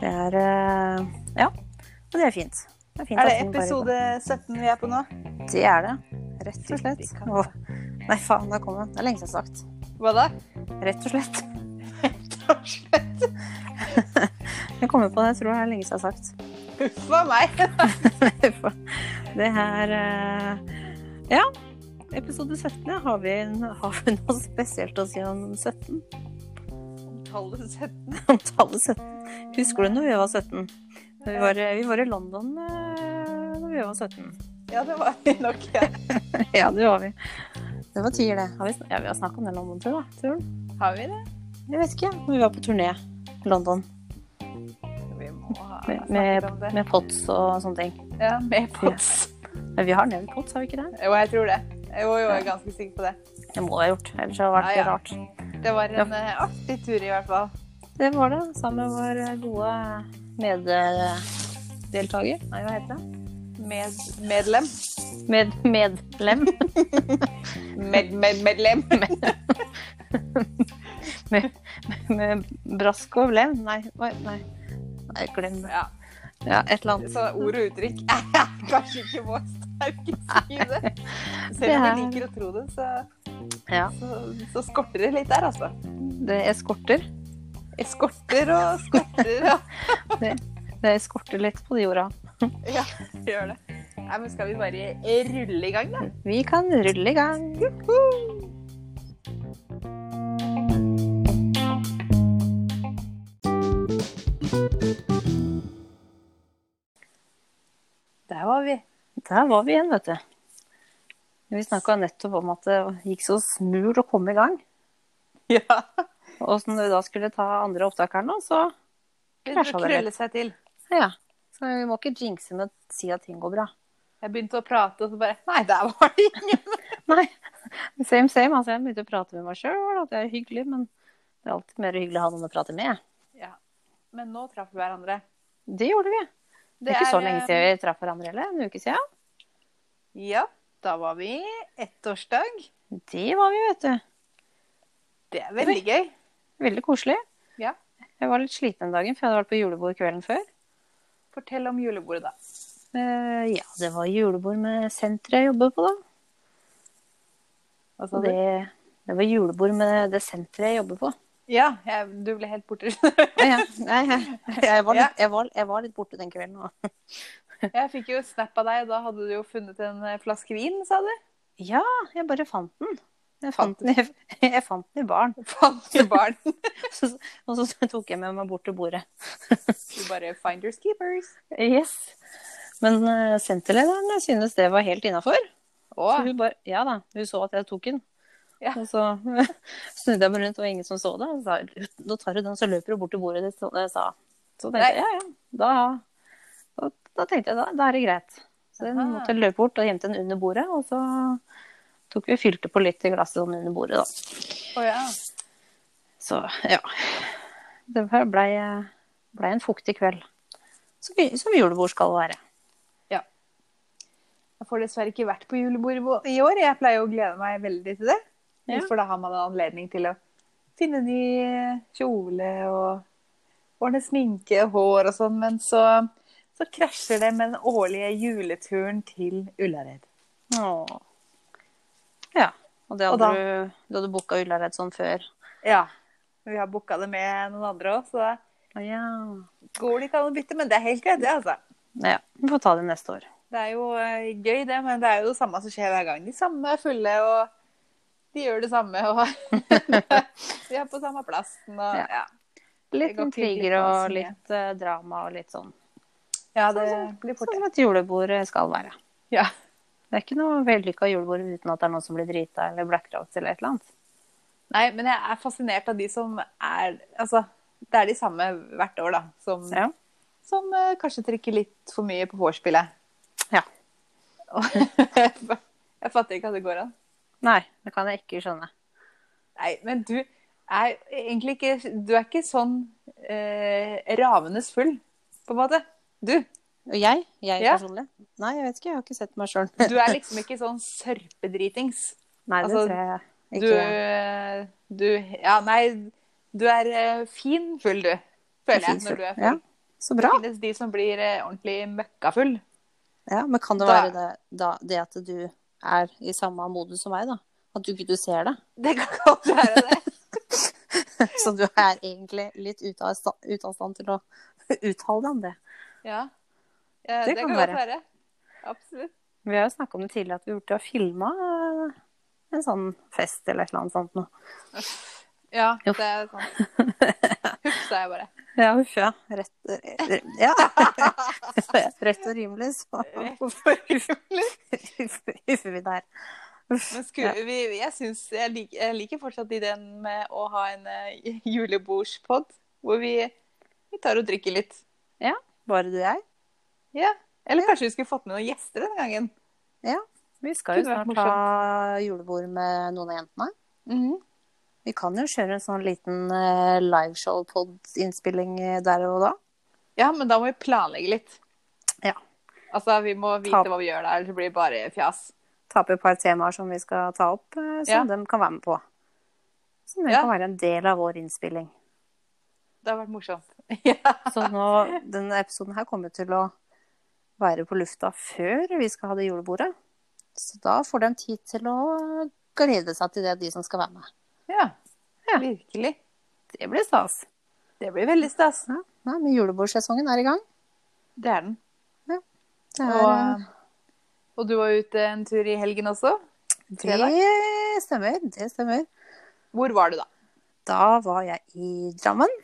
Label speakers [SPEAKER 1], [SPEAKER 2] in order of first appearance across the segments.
[SPEAKER 1] Det er eh, Ja. Og det er fint. Det er, fint
[SPEAKER 2] Er det
[SPEAKER 1] at vi bare-
[SPEAKER 2] episode 17 vi er på nå?
[SPEAKER 1] Det er det. Rett og slett.
[SPEAKER 2] Fytti katta.
[SPEAKER 1] Åh, nei, faen, det kom den. Det er lenge siden jeg har sagt.
[SPEAKER 2] Hva da?
[SPEAKER 1] Rett og slett. Jeg kommer på det, jeg tror det er lenge siden jeg har sagt.
[SPEAKER 2] Huff a meg.
[SPEAKER 1] Det her eh, Ja. Episode 17. ja. Har vi, en- har vi noe spesielt å si om 17?
[SPEAKER 2] Tallet 17.
[SPEAKER 1] Om tallet 17? Husker du når vi var 17? Da Vi var, vi var i London eh, da vi var 17.
[SPEAKER 2] Ja, det var vi nok. Ja.
[SPEAKER 1] Ja, det var vi. Det var tider, det. Har vi, sn- ja, vi har snakka om det i London, tror jeg. da. Tror du?
[SPEAKER 2] Har vi det?
[SPEAKER 1] Jeg vet ikke. Når vi var på turné i London
[SPEAKER 2] Vi må ha
[SPEAKER 1] med,
[SPEAKER 2] snakket om det.
[SPEAKER 1] med Pots og sånne ting.
[SPEAKER 2] Ja, med pots.
[SPEAKER 1] Men vi har nevnt Pots, har vi ikke det?
[SPEAKER 2] Jo, jeg tror det. Jo, jo, jeg er ganske sikker på det.
[SPEAKER 1] Det må vi ha gjort, ellers har det vært
[SPEAKER 2] Ja, ja.
[SPEAKER 1] rart.
[SPEAKER 2] Det var en eh, artig tur i hvert fall.
[SPEAKER 1] Det var det. Sammen med vår eh, gode meddeltaker. Nei, hva heter det?
[SPEAKER 2] Med, medlem.
[SPEAKER 1] Med, medlem.
[SPEAKER 2] Med, med, medlem.
[SPEAKER 1] med, med brask og lem. Nei, hva- nei. nei glem det.
[SPEAKER 2] Ja,
[SPEAKER 1] Ja, et eller annet.
[SPEAKER 2] så ord og uttrykk er kanskje ikke vår sterke side. Selv om vi
[SPEAKER 1] Det er-
[SPEAKER 2] liker å tro det, så,
[SPEAKER 1] Ja.
[SPEAKER 2] så, så skorter det litt der, altså.
[SPEAKER 1] Det eskorter.
[SPEAKER 2] Eskorter og skorter, ja.
[SPEAKER 1] Det eskorter litt på de orda.
[SPEAKER 2] ja gjør det. Nei, men skal vi bare rulle i gang, da?
[SPEAKER 1] Vi kan rulle i gang.
[SPEAKER 2] Der var vi.
[SPEAKER 1] Der var vi igjen, vet du. Vi snakka nettopp om at det gikk så smult å komme i gang.
[SPEAKER 2] Ja.
[SPEAKER 1] Og så når vi da skulle ta andre opptak her nå, så
[SPEAKER 2] Begynte
[SPEAKER 1] Krasja
[SPEAKER 2] å
[SPEAKER 1] det litt.
[SPEAKER 2] krølle seg til.
[SPEAKER 1] ja. Så vi må ikke jinxe med å si at ting går bra.
[SPEAKER 2] Jeg begynte å prate, og så bare Nei, der var det ingen!
[SPEAKER 1] Nei. Same, same. Altså, jeg begynte å prate med meg sjøl, at det er hyggelig, men det er alltid mer hyggelig å ha noen å prate med.
[SPEAKER 2] Ja. Men nå traff vi hverandre.
[SPEAKER 1] Det gjorde vi. Det er eh, ikke så lenge siden vi traff hverandre heller. En uke siden.
[SPEAKER 2] Ja, da var vi ettårsdag.
[SPEAKER 1] Det var vi, vet du.
[SPEAKER 2] Det er veldig gøy.
[SPEAKER 1] Veldig koselig.
[SPEAKER 2] Ja.
[SPEAKER 1] Jeg var litt sliten den dagen, for jeg hadde vært på julebord kvelden før.
[SPEAKER 2] Fortell om julebordet, da.
[SPEAKER 1] Eh, ja, det var julebord med senteret jeg jobber på, da.
[SPEAKER 2] Hva sa
[SPEAKER 1] Og
[SPEAKER 2] du?
[SPEAKER 1] det, det var julebord med det senteret jeg jobber på.
[SPEAKER 2] Ja, jeg, du ble helt borte.
[SPEAKER 1] Ja, nei, jeg, jeg, var litt, jeg, var, jeg var litt borte den kvelden. og-
[SPEAKER 2] jeg fikk jo snap av deg, og da hadde du jo funnet en eh, flaske vin, sa du?
[SPEAKER 1] Ja, jeg bare fant den. Jeg fant den, jeg, jeg fant den i baren.
[SPEAKER 2] Fant du barn?
[SPEAKER 1] Så, og så tok jeg med meg bort til bordet.
[SPEAKER 2] Du bare find your keepers.
[SPEAKER 1] Yes. Men eh, senterlederen synes det var helt innafor.
[SPEAKER 2] Å,
[SPEAKER 1] Hun bare, ja da, hun så at jeg tok den.
[SPEAKER 2] Ja.
[SPEAKER 1] Og så snudde jeg meg rundt, og ingen som så det. Og sa, nå tar du den, så løper du bort til bordet ditt, som jeg sa. Så tenkte
[SPEAKER 2] Nei.
[SPEAKER 1] jeg, ja, ja. Da, da, da tenkte jeg, da, da er det greit. Så jeg
[SPEAKER 2] Aha.
[SPEAKER 1] måtte løpe bort og gjemte den under bordet, og så tok vi og fylte på litt i glasset sånn under bordet, da.
[SPEAKER 2] å ja.
[SPEAKER 1] Så, ja. Det her ble, ble en fuktig kveld. Som, vi- som julebord skal være.
[SPEAKER 2] Jeg får dessverre ikke vært på julebord i- i år. Jeg pleier jo å glede meg veldig til det.
[SPEAKER 1] Ja.
[SPEAKER 2] For da har man en anledning til å finne ny eh, kjole og ordne sminke og hår og sånn. Men så, så krasjer det med den årlige juleturen til Ullared.
[SPEAKER 1] Åh. Ja. Og det
[SPEAKER 2] Og
[SPEAKER 1] hadde du, du hadde booka Ullared sånn før.
[SPEAKER 2] Ja. Vi har booka det med noen andre òg, så da
[SPEAKER 1] Å, Ja.
[SPEAKER 2] går det ikke an å bytte. Men det er helt greit, det, altså.
[SPEAKER 1] ja. Vi får ta det neste år.
[SPEAKER 2] Det er jo eh, gøy, det, men det er jo det samme som skjer hver gang. De samme er fulle, og de gjør det samme, og de er på samme plassen. Og,
[SPEAKER 1] Ja.
[SPEAKER 2] ja.
[SPEAKER 1] Litt
[SPEAKER 2] går fint,
[SPEAKER 1] intriger
[SPEAKER 2] litt
[SPEAKER 1] og
[SPEAKER 2] vanskelig.
[SPEAKER 1] litt eh, drama og litt sånn.
[SPEAKER 2] Ja, det blir fort
[SPEAKER 1] Sånn som et julebord skal være.
[SPEAKER 2] Ja.
[SPEAKER 1] Det er ikke noe vellykka julebord uten at det er noen som blir drita eller blackout eller et eller annet.
[SPEAKER 2] Nei, men jeg er fascinert av de som er Altså, det er de samme hvert år, da. Som,
[SPEAKER 1] Ja.
[SPEAKER 2] som eh, kanskje trykker litt for mye på vorspielet.
[SPEAKER 1] Ja.
[SPEAKER 2] Og jeg fatter ikke at det går an.
[SPEAKER 1] Nei, det kan jeg ikke skjønne.
[SPEAKER 2] Nei, men du er egentlig ikke Du er ikke sånn eh, ravenes full, på en måte. Du.
[SPEAKER 1] Og jeg? Jeg
[SPEAKER 2] Ja.
[SPEAKER 1] personlig? Nei, jeg vet ikke. Jeg har ikke sett meg sjøl.
[SPEAKER 2] Du er liksom ikke sånn sørpedritings.
[SPEAKER 1] Nei, det
[SPEAKER 2] altså,
[SPEAKER 1] tror jeg
[SPEAKER 2] Du, eh,
[SPEAKER 1] ikke.
[SPEAKER 2] du Ja, nei, du er eh, fin full, du. Føler jeg, når du er full.
[SPEAKER 1] Ja. Så bra.
[SPEAKER 2] Det finnes de som blir eh, ordentlig møkkafull.
[SPEAKER 1] Ja, men kan det
[SPEAKER 2] Da-
[SPEAKER 1] være det, da, det at du er i samme modus som meg, da? At du ikke du ser det?
[SPEAKER 2] Det kan godt være det.
[SPEAKER 1] Så du er egentlig litt ute av sta- ute av stand til å uttale deg om det.
[SPEAKER 2] Ja. Ja,
[SPEAKER 1] Det
[SPEAKER 2] det,
[SPEAKER 1] kan
[SPEAKER 2] kan godt være. Absolutt.
[SPEAKER 1] Vi har jo snakka om det tidligere, at vi burde ha filma en sånn fest eller et eller annet sånt noe.
[SPEAKER 2] Ja,
[SPEAKER 1] Uff.
[SPEAKER 2] det er sant. Huff, sa jeg bare.
[SPEAKER 1] Ja, uff, ja. Rett, re- ja. Rett og rimelig, så uffer vi der.
[SPEAKER 2] Men skulle, vi, jeg, synes, jeg, lik, jeg liker fortsatt ideen med å ha en eh, julebordspod hvor vi, vi tar og drikker litt.
[SPEAKER 1] Bare du og jeg.
[SPEAKER 2] Ja. Eller kanskje vi skulle fått med noen gjester denne gangen.
[SPEAKER 1] Vi skal jo
[SPEAKER 2] Kunne vært
[SPEAKER 1] snart ta julebord med noen av jentene. Mhm. Vi kan jo kjøre en sånn liten eh, liveshow-pod-innspilling eh, der og da.
[SPEAKER 2] Ja, men da må vi planlegge litt.
[SPEAKER 1] Ja.
[SPEAKER 2] Altså, vi må
[SPEAKER 1] Ta-
[SPEAKER 2] vite hva vi gjør der, ellers blir det bare fjas.
[SPEAKER 1] Ta opp et par temaer som vi skal ta opp, eh, som
[SPEAKER 2] Ja.
[SPEAKER 1] de kan være med på. Som det
[SPEAKER 2] Ja.
[SPEAKER 1] kan være en del av vår innspilling.
[SPEAKER 2] Det har vært morsomt. ja.
[SPEAKER 1] Så nå, denne episoden her kommer til å være på lufta før vi skal ha det julebordet. Så da får de tid til å glede seg til det, de som skal være med.
[SPEAKER 2] ja.
[SPEAKER 1] Ja.
[SPEAKER 2] Virkelig.
[SPEAKER 1] Det blir stas.
[SPEAKER 2] Det blir veldig stas.
[SPEAKER 1] Ja, nei, men julebordsesongen er i gang.
[SPEAKER 2] Det er den.
[SPEAKER 1] Det er,
[SPEAKER 2] Og, og du var ute en tur i helgen også.
[SPEAKER 1] eh,
[SPEAKER 2] fredag.
[SPEAKER 1] det stemmer, det stemmer.
[SPEAKER 2] Hvor var du da?
[SPEAKER 1] Da var jeg i Drammen.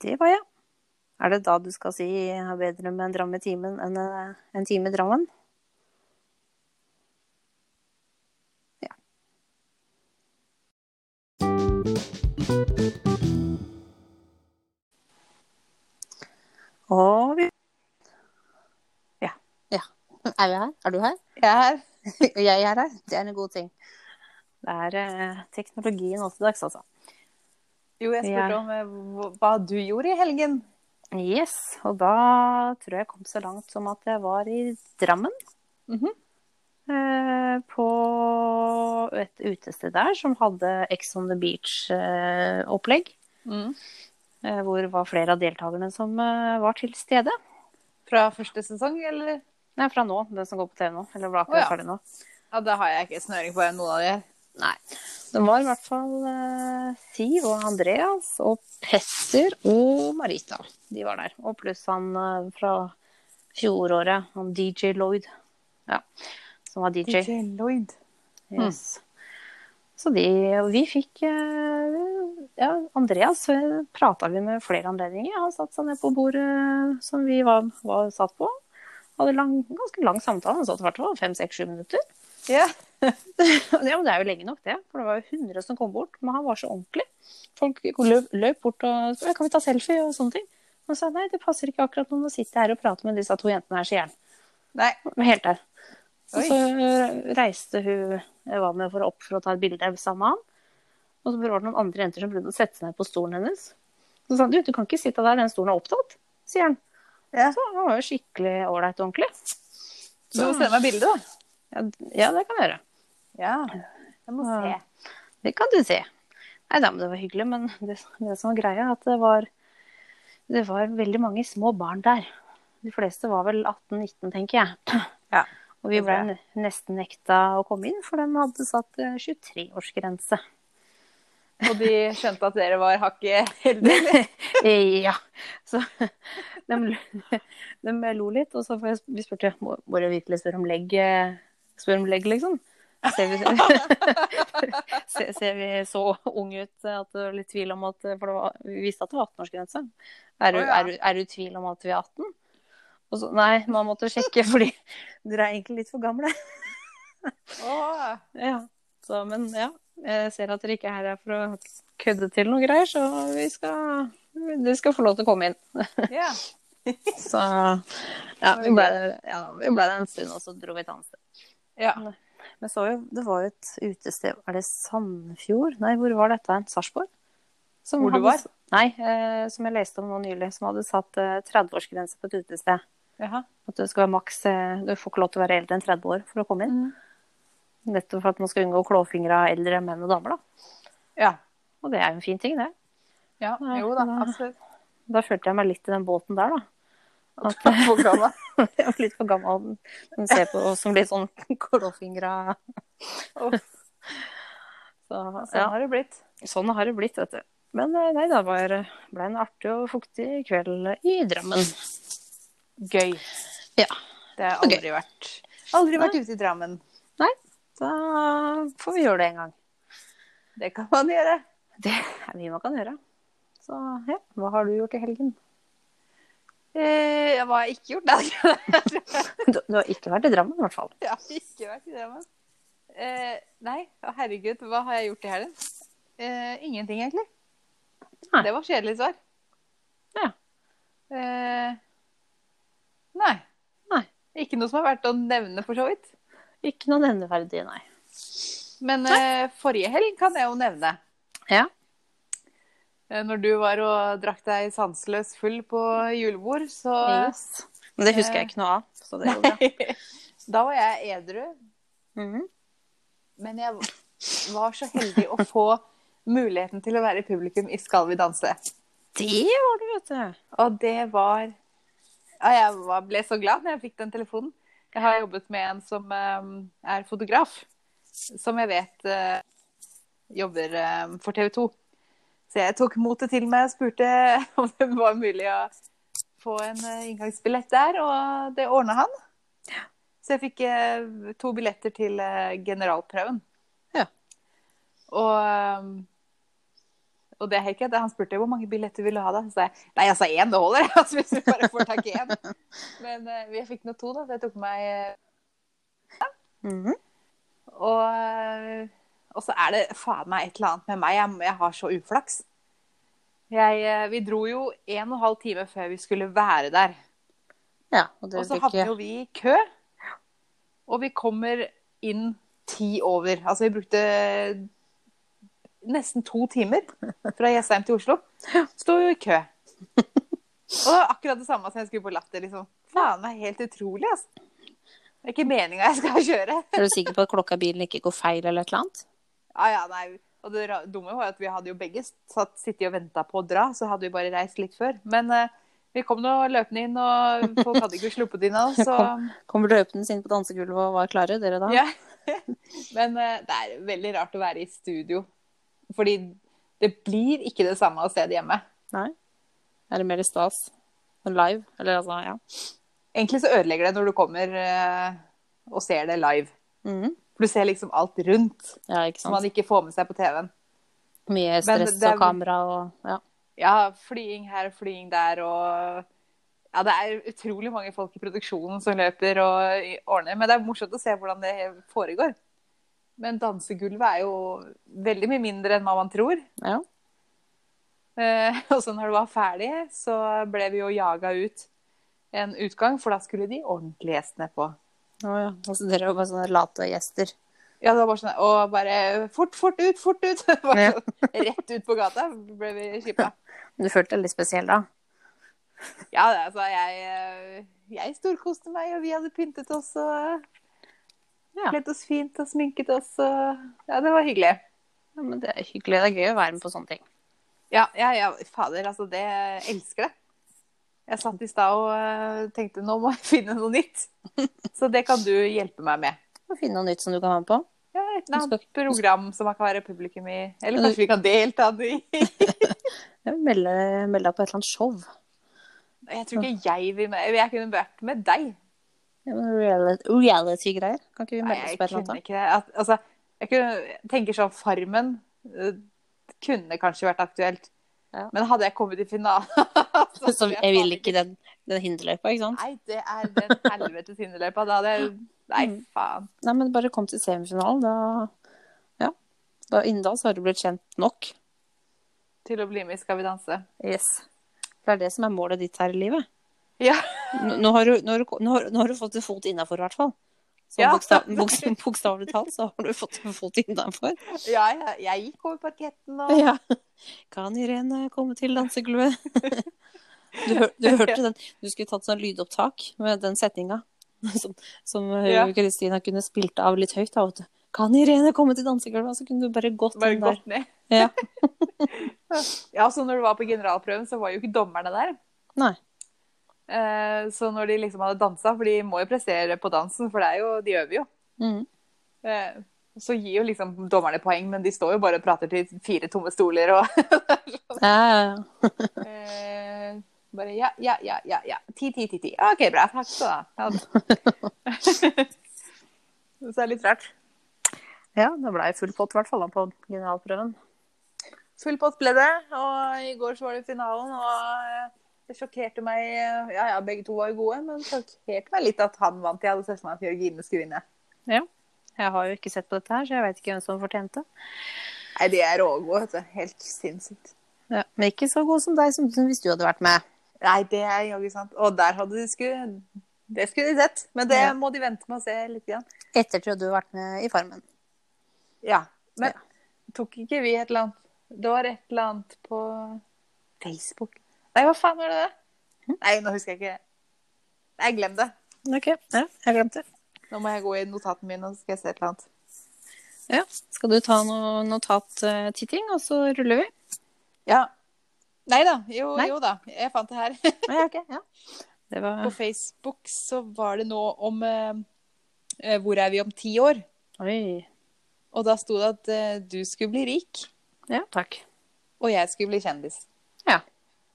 [SPEAKER 1] Det var jeg. Er det da du skal si jeg har bedre med en dram i timen enn eh, en time i Drammen? Ja. Og vi
[SPEAKER 2] Ja.
[SPEAKER 1] ja. Er vi her? Er du her?
[SPEAKER 2] Jeg er her.
[SPEAKER 1] Og jeg er her. Det er en god ting. Det er eh, teknologien også til dags, altså.
[SPEAKER 2] Jo, jeg spurte
[SPEAKER 1] Ja.
[SPEAKER 2] om eh, hva- hva du gjorde i helgen.
[SPEAKER 1] Yes, og da tror jeg jeg kom så langt som at jeg var i Drammen.
[SPEAKER 2] Mhm.
[SPEAKER 1] eh, på et utested der som hadde Ex on the Beach-opplegg.
[SPEAKER 2] Mm.
[SPEAKER 1] Eh, hvor det var flere av deltakerne som eh, var til stede.
[SPEAKER 2] Fra første sesong, eller?
[SPEAKER 1] Nei, fra nå, den som går på TV nå. Eller var
[SPEAKER 2] Å
[SPEAKER 1] akkurat
[SPEAKER 2] ja.
[SPEAKER 1] ferdig nå.
[SPEAKER 2] Ja, da har jeg ikke snøring på noen av de her.
[SPEAKER 1] Nei. Det var i hvert fall eh, Siv og Andreas og Petter og Marita. De var der. Og pluss han eh, fra fjoråret, han DJ Lloyd. Ja. Som var DJ.
[SPEAKER 2] DJ Lloyd.
[SPEAKER 1] Yes. Så de Og vi fikk eh, Ja, Andreas prata vi med flere anledninger. Han satte seg ned på bordet eh, som vi var, var satt på. Hadde lang, ganske lang samtale. Han satt i hvert fall fem-seks-sju minutter.
[SPEAKER 2] Ja.
[SPEAKER 1] Ja, men Det er jo lenge nok, det. For det var jo 100 som kom bort. Men han var så ordentlig. Folk løp, løp bort og spurte kan vi ta selfie og sånne ting. Han sa nei, det passer ikke akkurat nå. Nå sitter jeg her og prater med disse to jentene her, sier han.
[SPEAKER 2] Nei.
[SPEAKER 1] Men Helt der. Og
[SPEAKER 2] Oi.
[SPEAKER 1] så reiste hun jeg var med for opp for å ta et bilde sammen med han. Og så var det noen andre jenter som prøvde å sette seg ned på stolen hennes. Så sa han du, du kan ikke sitte der, den stolen er opptatt, sier han.
[SPEAKER 2] Ja.
[SPEAKER 1] Så han var jo skikkelig ålreit og ordentlig.
[SPEAKER 2] Du må sende meg bilde, da.
[SPEAKER 1] Ja, d- ja, det kan jeg gjøre.
[SPEAKER 2] Ja. Jeg må se.
[SPEAKER 1] Ja. Det kan du si. Nei da, men det var hyggelig. Men det, det som var greia, er at det var, det var veldig mange små barn der. De fleste var vel 18-19, tenker jeg.
[SPEAKER 2] Ja,
[SPEAKER 1] Og vi
[SPEAKER 2] det tror
[SPEAKER 1] ble
[SPEAKER 2] jeg.
[SPEAKER 1] ne- nesten nekta å komme inn, for de hadde satt eh, 23-årsgrense.
[SPEAKER 2] Og de skjønte at dere var hakket heldige.
[SPEAKER 1] Eh, ja. Så de, lo- de lo litt, og så får jeg, vi spurte må må dere virkelig spørre om legg, eh, spør om legg liksom. Ser vi, ser, ser vi så unge ut eh, at det var litt tvil om at eh, For det var, vi visste at det var 18-årsgrense. Er, du-
[SPEAKER 2] Å, ja.
[SPEAKER 1] er, du- er du i tvil om at vi er 18? Og så, nei, man måtte sjekke, fordi dere er egentlig litt for gamle.
[SPEAKER 2] Åh.
[SPEAKER 1] Ja. Så, men ja, Jeg ser at dere ikke er her for å kødde til noe greier, så vi skal, dere skal få lov til å komme inn.
[SPEAKER 2] Ja.
[SPEAKER 1] Så ja, vi ble der ja, vi ble der en stund, og så dro vi et annet sted.
[SPEAKER 2] ja.
[SPEAKER 1] Men så jo, det var jo et utested Er det Sandfjord? Nei, hvor var dette? hen? Sarpsborg? Som
[SPEAKER 2] Hvor du
[SPEAKER 1] hadde-
[SPEAKER 2] var?
[SPEAKER 1] Nei, eh, som jeg leste om nå nylig, som hadde satt eh, 30-årsgrense på et utested.
[SPEAKER 2] Jaha.
[SPEAKER 1] At det skal være maks eh, Du får ikke lov til å være eldre enn 30 år for å komme inn.
[SPEAKER 2] Mm.
[SPEAKER 1] Nettopp for at man skal unngå klåfingra eldre menn og damer, da.
[SPEAKER 2] Ja.
[SPEAKER 1] Og det er jo en fin ting, det.
[SPEAKER 2] ja.
[SPEAKER 1] Nei,
[SPEAKER 2] Jo da,
[SPEAKER 1] da-
[SPEAKER 2] absolutt.
[SPEAKER 1] Da følte jeg meg litt i den båten der, da. At
[SPEAKER 2] På gamma.
[SPEAKER 1] jeg var litt for gammel. De ser på oss som litt sånn klåfingra
[SPEAKER 2] Uff,
[SPEAKER 1] så,
[SPEAKER 2] Sånn
[SPEAKER 1] ja.
[SPEAKER 2] har det blitt.
[SPEAKER 1] Sånn har det blitt, vet du. Men eh, nei, det var, ble en artig og fuktig kveld i Drammen.
[SPEAKER 2] Gøy.
[SPEAKER 1] Ja.
[SPEAKER 2] Det har jeg aldri vært. Aldri vært ute i Drammen.
[SPEAKER 1] Da får vi gjøre det en gang.
[SPEAKER 2] Det kan man gjøre.
[SPEAKER 1] Det er mye man kan gjøre. Så ja, hva har du gjort i helgen?
[SPEAKER 2] Eh, hva har jeg ikke gjort? Nei,
[SPEAKER 1] Du, du har ikke vært i Drammen, i hvert fall.
[SPEAKER 2] jeg har ikke vært i Drammen. Eh, nei, å herregud, hva har jeg gjort i helgen? Eh, ingenting, egentlig.
[SPEAKER 1] Nei.
[SPEAKER 2] Det var kjedelig svar.
[SPEAKER 1] Ja.
[SPEAKER 2] Eh, nei.
[SPEAKER 1] Nei.
[SPEAKER 2] Ikke noe som er verdt å nevne, for så vidt.
[SPEAKER 1] Ikke noe nevneverdig, nei.
[SPEAKER 2] Men eh, forrige helg kan jeg jo nevne.
[SPEAKER 1] Ja.
[SPEAKER 2] Eh, Når du var og drakk deg sanseløs full på julebord, så
[SPEAKER 1] Yes. Men det husker jeg ikke noe av, så det går bra.
[SPEAKER 2] Da var jeg edru.
[SPEAKER 1] Mhm.
[SPEAKER 2] Men jeg var så heldig å få muligheten til å være i publikum i Skal vi danse.
[SPEAKER 1] Det var det, vet du.
[SPEAKER 2] Og det var ja, Jeg var, ble så glad når jeg fikk den telefonen. Jeg har jobbet med en som eh, er fotograf, som jeg vet eh, jobber eh, for TV 2. Så jeg tok motet til meg og spurte om det var mulig å få en eh, inngangsbillett der, og det ordna han. Så jeg fikk eh, to billetter til eh, generalprøven.
[SPEAKER 1] Ja.
[SPEAKER 2] Og eh, og det er helt greit. Han spurte hvor mange billetter vil du ha, da. Så sa jeg nei, jeg sa én, det holder. Altså, hvis vi bare får tak i én. Men eh, jeg fikk nå to, da, så jeg tok med meg eh,
[SPEAKER 1] Mhm.
[SPEAKER 2] Og, eh, og så er det faen meg et eller annet med meg. Jeg, jeg har så uflaks. Jeg, eh, vi dro jo en og en halv time før vi skulle være der.
[SPEAKER 1] Ja, og det
[SPEAKER 2] Og så
[SPEAKER 1] fikk
[SPEAKER 2] havner jo vi i kø. Og vi kommer inn ti over. Altså vi brukte nesten to timer fra Jessheim til Oslo. Sto jo i kø. Og det var akkurat det samme som jeg skulle på Latter. liksom. Faen, det er helt utrolig, altså. Det er ikke meninga jeg skal kjøre.
[SPEAKER 1] Er du sikker på at klokka i bilen ikke går feil eller et eller annet?
[SPEAKER 2] Ja, ja, nei. Og det ra- dumme var jo at vi hadde jo begge satt, sittet og venta på å dra, så hadde vi bare reist litt før. Men eh, vi kom nå løpende inn, og folk hadde ikke sluppet inn av oss, så
[SPEAKER 1] Kom. Kom løpende inn på dansegulvet og var klare, dere da?
[SPEAKER 2] Ja. Men eh, det er veldig rart å være i studio. Fordi det blir ikke det samme å se det hjemme.
[SPEAKER 1] Nei? Er det mer i stas enn live? Eller altså, ja.
[SPEAKER 2] Egentlig så ødelegger det når du kommer eh, og ser det live.
[SPEAKER 1] Mhm.
[SPEAKER 2] For du ser liksom alt rundt
[SPEAKER 1] Ja, ikke
[SPEAKER 2] som
[SPEAKER 1] sant.
[SPEAKER 2] man ikke får med seg på TV-en.
[SPEAKER 1] Mye stress
[SPEAKER 2] det er-
[SPEAKER 1] og kamera og ja.
[SPEAKER 2] Ja, flying her, flying der og Ja, det er utrolig mange folk i produksjonen som løper og i- ordner, men det er morsomt å se hvordan det foregår. Men dansegulvet er jo veldig mye mindre enn hva man tror.
[SPEAKER 1] ja.
[SPEAKER 2] Eh, og så når det var ferdig, så ble vi jo jaga ut en utgang, for da skulle de ordentlige gjestene på.
[SPEAKER 1] Å ja. Altså, dere var bare sånne late gjester.
[SPEAKER 2] Ja, det var bare sånn, Og bare fort, fort ut, fort ut! Bare
[SPEAKER 1] Ja.
[SPEAKER 2] sånn, rett ut på gata ble vi skippa.
[SPEAKER 1] Du følte deg litt spesiell da?
[SPEAKER 2] Ja, det, altså, jeg, eh, jeg storkoste meg, og vi hadde pyntet oss og
[SPEAKER 1] Ja.
[SPEAKER 2] kledd oss fint og sminket oss. Og, ja, det var hyggelig.
[SPEAKER 1] Ja, men det er hyggelig. Det er gøy å være med på sånne ting.
[SPEAKER 2] Ja, ja, ja, fader, altså, det jeg elsker det. Jeg satt i stad og eh, tenkte nå må jeg finne noe nytt. Så det kan du hjelpe meg med.
[SPEAKER 1] Å finne noe nytt som du kan være med på.
[SPEAKER 2] Ja, et eller
[SPEAKER 1] Man
[SPEAKER 2] annet program som man kan være publikum i. Eller
[SPEAKER 1] Men du-
[SPEAKER 2] kanskje vi kan delta i.
[SPEAKER 1] Ja, Melde melde deg på et eller annet show.
[SPEAKER 2] Jeg tror ikke jeg vil med. Jeg kunne vært med deg.
[SPEAKER 1] Ja, men reali- Reality-greier. Kan ikke vi
[SPEAKER 2] Nei,
[SPEAKER 1] melde oss
[SPEAKER 2] jeg
[SPEAKER 1] på et eller
[SPEAKER 2] kunne
[SPEAKER 1] annet?
[SPEAKER 2] ikke det. At- Altså, jeg kunne, jeg tenker sånn Farmen eh, kunne kanskje vært aktuelt.
[SPEAKER 1] Ja.
[SPEAKER 2] Men hadde jeg kommet i finalen
[SPEAKER 1] da?
[SPEAKER 2] så
[SPEAKER 1] Så
[SPEAKER 2] hadde
[SPEAKER 1] jeg vil
[SPEAKER 2] faen
[SPEAKER 1] ikke den, den hinderløypa, ikke sant?
[SPEAKER 2] Nei, det er den helvetes
[SPEAKER 1] Mm.
[SPEAKER 2] hinderløypa. Da hadde jeg Nei, faen.
[SPEAKER 1] Nei, men bare kom til semifinalen, da Ja. Da, innen da så har du blitt kjent nok.
[SPEAKER 2] Til å bli med i Skal vi danse.
[SPEAKER 1] Yes. Det er det som er målet ditt her i livet.
[SPEAKER 2] Ja.
[SPEAKER 1] Nå, nå, har, du, nå, har, du, nå, har, nå har du fått en fot innafor, i hvert fall. Så
[SPEAKER 2] Ja.
[SPEAKER 1] bokstav, boks- bokstavelig talt så har du fått en fot innafor.
[SPEAKER 2] Ja, ja, jeg gikk over parketten og
[SPEAKER 1] Ja. Kan Irene komme til dansegulvet? Du, hør, du hørte den. Du skulle tatt sånn lydopptak med den setninga som, som eh,
[SPEAKER 2] Ja.
[SPEAKER 1] Kristina kunne spilt av litt høyt. Da, vet du. Kan Irene komme til dansegulvet? Og så kunne du bare gått
[SPEAKER 2] bare
[SPEAKER 1] inn der.
[SPEAKER 2] gått ned.
[SPEAKER 1] Ja.
[SPEAKER 2] ja, så når du var på generalprøven, så var jo ikke dommerne der.
[SPEAKER 1] Nei.
[SPEAKER 2] Eh, Så når de liksom hadde dansa, for de må jo prestere på dansen, for det er jo, de øver jo.
[SPEAKER 1] Mm.
[SPEAKER 2] Eh, Så gir jo liksom dommerne poeng, men de står jo bare og prater til fire tomme stoler og
[SPEAKER 1] Ja, ja, ja.
[SPEAKER 2] Eh, Bare ja, ja, ja, ja. ja. Ti, ti, ti, ti. OK, bra. Takk skal du ha. Ha det. Så det er litt rart.
[SPEAKER 1] Ja, det blei full pott, i hvert fall, da, på generalprøven.
[SPEAKER 2] Full pott ble det, og i går så var det finalen, og eh, det sjokkerte meg eh, Ja ja, begge to var jo gode, men det sjokkerte meg litt at han vant. Jeg hadde sett for meg at Jørgine skulle vinne.
[SPEAKER 1] Ja. Jeg har jo ikke sett på dette her, så jeg vet ikke hvem som fortjente.
[SPEAKER 2] Nei, de er rågode, vet du. Helt sinnssykt.
[SPEAKER 1] Ja. Men ikke så god som deg, som som hvis du hadde vært med.
[SPEAKER 2] Nei, det er jo ikke sant. Og der hadde de skulle Det skulle de sett, men det
[SPEAKER 1] Ja.
[SPEAKER 2] må de vente med å se litt. Igjen.
[SPEAKER 1] Etter at du hadde vært med i Farmen.
[SPEAKER 2] Ja. Men tok ikke vi et eller annet Det var et eller annet på Facebook Nei, hva faen var det? Hm? Nei, nå husker jeg ikke. Nei, glem det.
[SPEAKER 1] Ok, ja, jeg glemte det.
[SPEAKER 2] Nå må jeg gå i notatene mine, og så skal jeg se et eller annet.
[SPEAKER 1] Ja. Skal du ta noe notattitting, og så ruller vi?
[SPEAKER 2] Ja. Nei da. Jo,
[SPEAKER 1] Nei.
[SPEAKER 2] jo da. Jeg fant det her.
[SPEAKER 1] Ja, ok. Ja. Det
[SPEAKER 2] På
[SPEAKER 1] var
[SPEAKER 2] Facebook så var det noe om eh, eh, Hvor er vi om ti år?
[SPEAKER 1] Oi.
[SPEAKER 2] Og da sto det at eh, du skulle bli rik,
[SPEAKER 1] Ja, takk.
[SPEAKER 2] og jeg skulle bli kjendis.
[SPEAKER 1] Ja.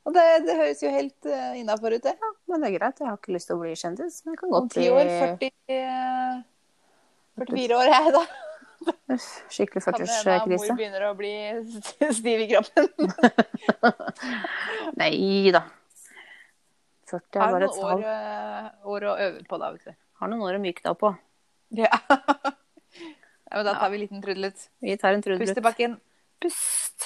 [SPEAKER 2] Og det, det høres jo helt uh, innafor ut, det.
[SPEAKER 1] Ja, men det er greit. Jeg har ikke lyst til å bli kjendis. Men jeg kan
[SPEAKER 2] Om
[SPEAKER 1] godt
[SPEAKER 2] ti
[SPEAKER 1] bli
[SPEAKER 2] år, 40, eh, 44 år er jeg da.
[SPEAKER 1] Uff, skikkelig
[SPEAKER 2] Kan det hende at mor
[SPEAKER 1] førterskrise.
[SPEAKER 2] begynner å bli stiv i kroppen.
[SPEAKER 1] Nei da. 40 er
[SPEAKER 2] Har
[SPEAKER 1] bare et
[SPEAKER 2] noen år,
[SPEAKER 1] tall.
[SPEAKER 2] eh, år å øve på da, vet du.
[SPEAKER 1] Har noen år å myke deg opp på.
[SPEAKER 2] Ja. ja, men da tar vi en liten trudelutt.
[SPEAKER 1] Vi tar en
[SPEAKER 2] Pust
[SPEAKER 1] trudelutt.
[SPEAKER 2] i bakken.
[SPEAKER 1] Pust.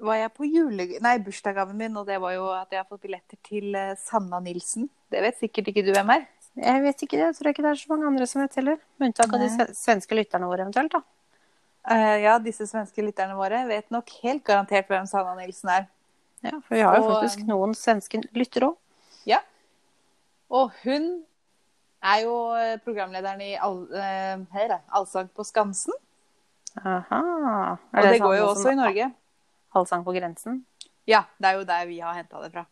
[SPEAKER 2] var jeg på jule... Nei, bursdagsgaven min, og det var jo at jeg har fått billetter til eh, Sanna Nilsen. Det vet sikkert ikke du hvem er.
[SPEAKER 1] Jeg vet ikke det. Jeg tror ikke det er så mange andre som vet heller. Med unntak av de
[SPEAKER 2] Nei.
[SPEAKER 1] sve- svenske lytterne våre eventuelt, da.
[SPEAKER 2] Eh, ja, disse svenske lytterne våre vet nok helt garantert hvem Sanna Nilsen er.
[SPEAKER 1] Ja, for vi har jo
[SPEAKER 2] Og, um,
[SPEAKER 1] faktisk noen svenske lyttere òg.
[SPEAKER 2] Ja. Og hun er jo eh, programlederen i all, eh, her, da, Allsang på Skansen.
[SPEAKER 1] Aha. Er
[SPEAKER 2] Og det
[SPEAKER 1] samme
[SPEAKER 2] går jo
[SPEAKER 1] som
[SPEAKER 2] også i Norge.
[SPEAKER 1] Halvsang på grensen?
[SPEAKER 2] Ja, det er jo der vi har henta det fra.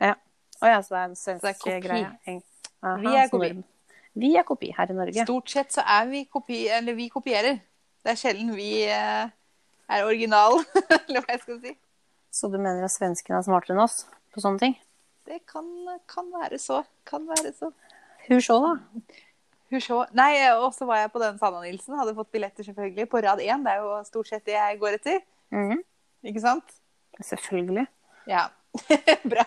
[SPEAKER 1] Ja. Å ja, så det er en svensk
[SPEAKER 2] Så det er kopi.
[SPEAKER 1] greie. Eng- Aha,
[SPEAKER 2] Vi er
[SPEAKER 1] så
[SPEAKER 2] kopi.
[SPEAKER 1] nordmenn- Vi er kopi her i Norge.
[SPEAKER 2] Stort sett så er vi kopi... Eller vi kopierer. Det er sjelden vi eh, er original, eller hva jeg skal si.
[SPEAKER 1] Så du mener at svenskene er smartere enn oss på sånne ting?
[SPEAKER 2] Det kan, kan være så. Kan være så.
[SPEAKER 1] Hun så, da.
[SPEAKER 2] Hun så. Nei, og så var jeg på den Sanna Nilsen. Hadde fått billetter selvfølgelig på rad én. Det er jo stort sett det jeg går etter.
[SPEAKER 1] Mhm.
[SPEAKER 2] Ikke sant?
[SPEAKER 1] Selvfølgelig.
[SPEAKER 2] Ja. Bra.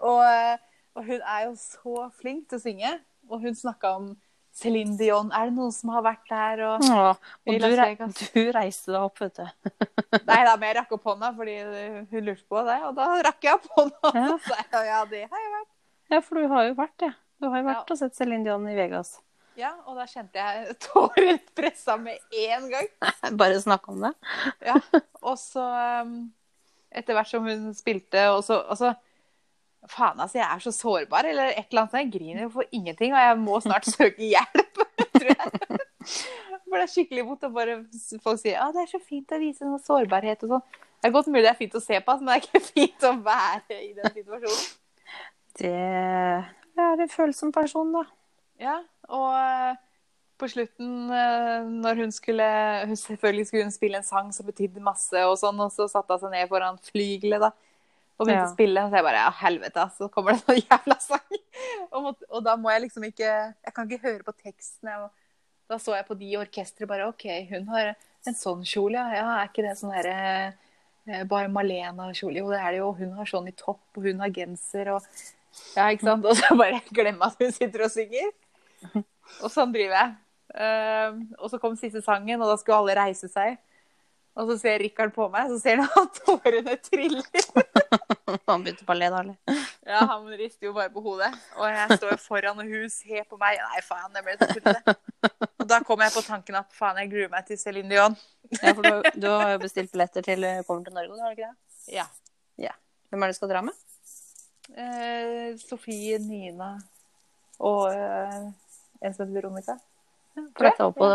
[SPEAKER 2] Og, og hun er jo så flink til å synge. Og hun snakka om Céline Dion. Er det noen som har vært der? Og...
[SPEAKER 1] Åh, og
[SPEAKER 2] I
[SPEAKER 1] du,
[SPEAKER 2] Las
[SPEAKER 1] rei-
[SPEAKER 2] Vegas.
[SPEAKER 1] du reiste deg opp, vet du.
[SPEAKER 2] Nei da, men jeg rakk opp hånda fordi hun lurte på det. Og da rakk jeg opp hånda.
[SPEAKER 1] Ja.
[SPEAKER 2] Og sa jeg, ja, det har jeg vært.
[SPEAKER 1] Ja, for du har jo vært det. Du har jo vært
[SPEAKER 2] Ja.
[SPEAKER 1] og sett Céline Dion i Vegas.
[SPEAKER 2] Ja, og da kjente jeg tårer pressa med én gang.
[SPEAKER 1] Bare snakk om det.
[SPEAKER 2] Ja, og så um, etter hvert som hun spilte, og så, og så Faen, altså, jeg er så sårbar, eller et eller annet. sånt. Jeg griner jo for ingenting, og jeg må snart søke hjelp, tror jeg. For det er skikkelig vondt å bare folk sier at det er så fint å vise noe sårbarhet og sånn. Det er godt mulig det er fint å se på, altså, men det er ikke fint å være i den situasjonen.
[SPEAKER 1] Det er en følsom person, da.
[SPEAKER 2] Ja, og eh, på slutten, eh, når hun skulle hun Selvfølgelig skulle hun spille en sang som betydde masse, og sånn, og så satte hun seg ned foran flygelet da, og begynte
[SPEAKER 1] Ja.
[SPEAKER 2] å spille. Og så jeg bare Ja, helvete, ass, så kommer det en sånn jævla sang! Og, måtte, og da må jeg liksom ikke Jeg kan ikke høre på teksten. Jeg, må- da så jeg på de i orkesteret bare OK, hun har en sånn kjole, ja. ja er ikke det sånn herre eh, bare Malena-kjole? Jo, det er det jo. Hun har sånn i topp, og hun har genser og Ja, ikke sant? Og så bare glemme at hun sitter og synger. Og sånn driver jeg. Ehm, og så kom siste sangen, og da skulle alle reise seg. Og så ser Rikard på meg, så ser han at tårene triller.
[SPEAKER 1] Han begynte på å le, da. eller?
[SPEAKER 2] Ja, han rister jo bare på hodet. Og jeg står foran, og hun ser på meg. Nei, faen, jeg ble så tullete. Og da kom jeg på tanken at faen, jeg gruer meg til Céline Dion.
[SPEAKER 1] Ja, for du, du har jo bestilt billetter til eh, kommer til Norge, du har du ikke det?
[SPEAKER 2] Ja.
[SPEAKER 1] Hvem er det du skal dra med?
[SPEAKER 2] Eh, Sofie, Nina og eh, en som heter Veronica.
[SPEAKER 1] For dette var på,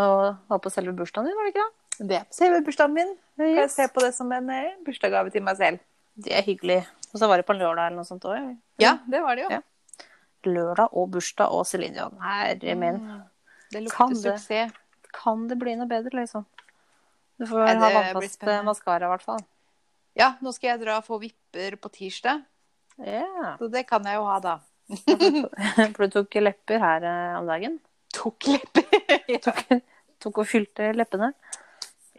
[SPEAKER 1] var på selve bursdagen din, var det ikke det?
[SPEAKER 2] Det er på selve bursdagen min. Kan jeg se på det som en eh, bursdagsgave til meg selv?
[SPEAKER 1] Det er hyggelig. Og så var det på en lørdag eller noe sånt òg.
[SPEAKER 2] Mm. Ja, det var det jo.
[SPEAKER 1] Ja. Lørdag og bursdag og Celine Dion. Herre min.
[SPEAKER 2] Det
[SPEAKER 1] Kan
[SPEAKER 2] lukter
[SPEAKER 1] det.
[SPEAKER 2] suksess.
[SPEAKER 1] Kan det bli noe bedre, liksom? Du får ha
[SPEAKER 2] Nei, det blir
[SPEAKER 1] vannfast
[SPEAKER 2] spennende.
[SPEAKER 1] maskara, i hvert fall.
[SPEAKER 2] Ja, nå skal jeg dra og få vipper på tirsdag,
[SPEAKER 1] Ja.
[SPEAKER 2] så det kan jeg jo ha da.
[SPEAKER 1] For du tok lepper her eh, om dagen.
[SPEAKER 2] Tok lepper! ja.
[SPEAKER 1] Tok, tok og fylte leppene.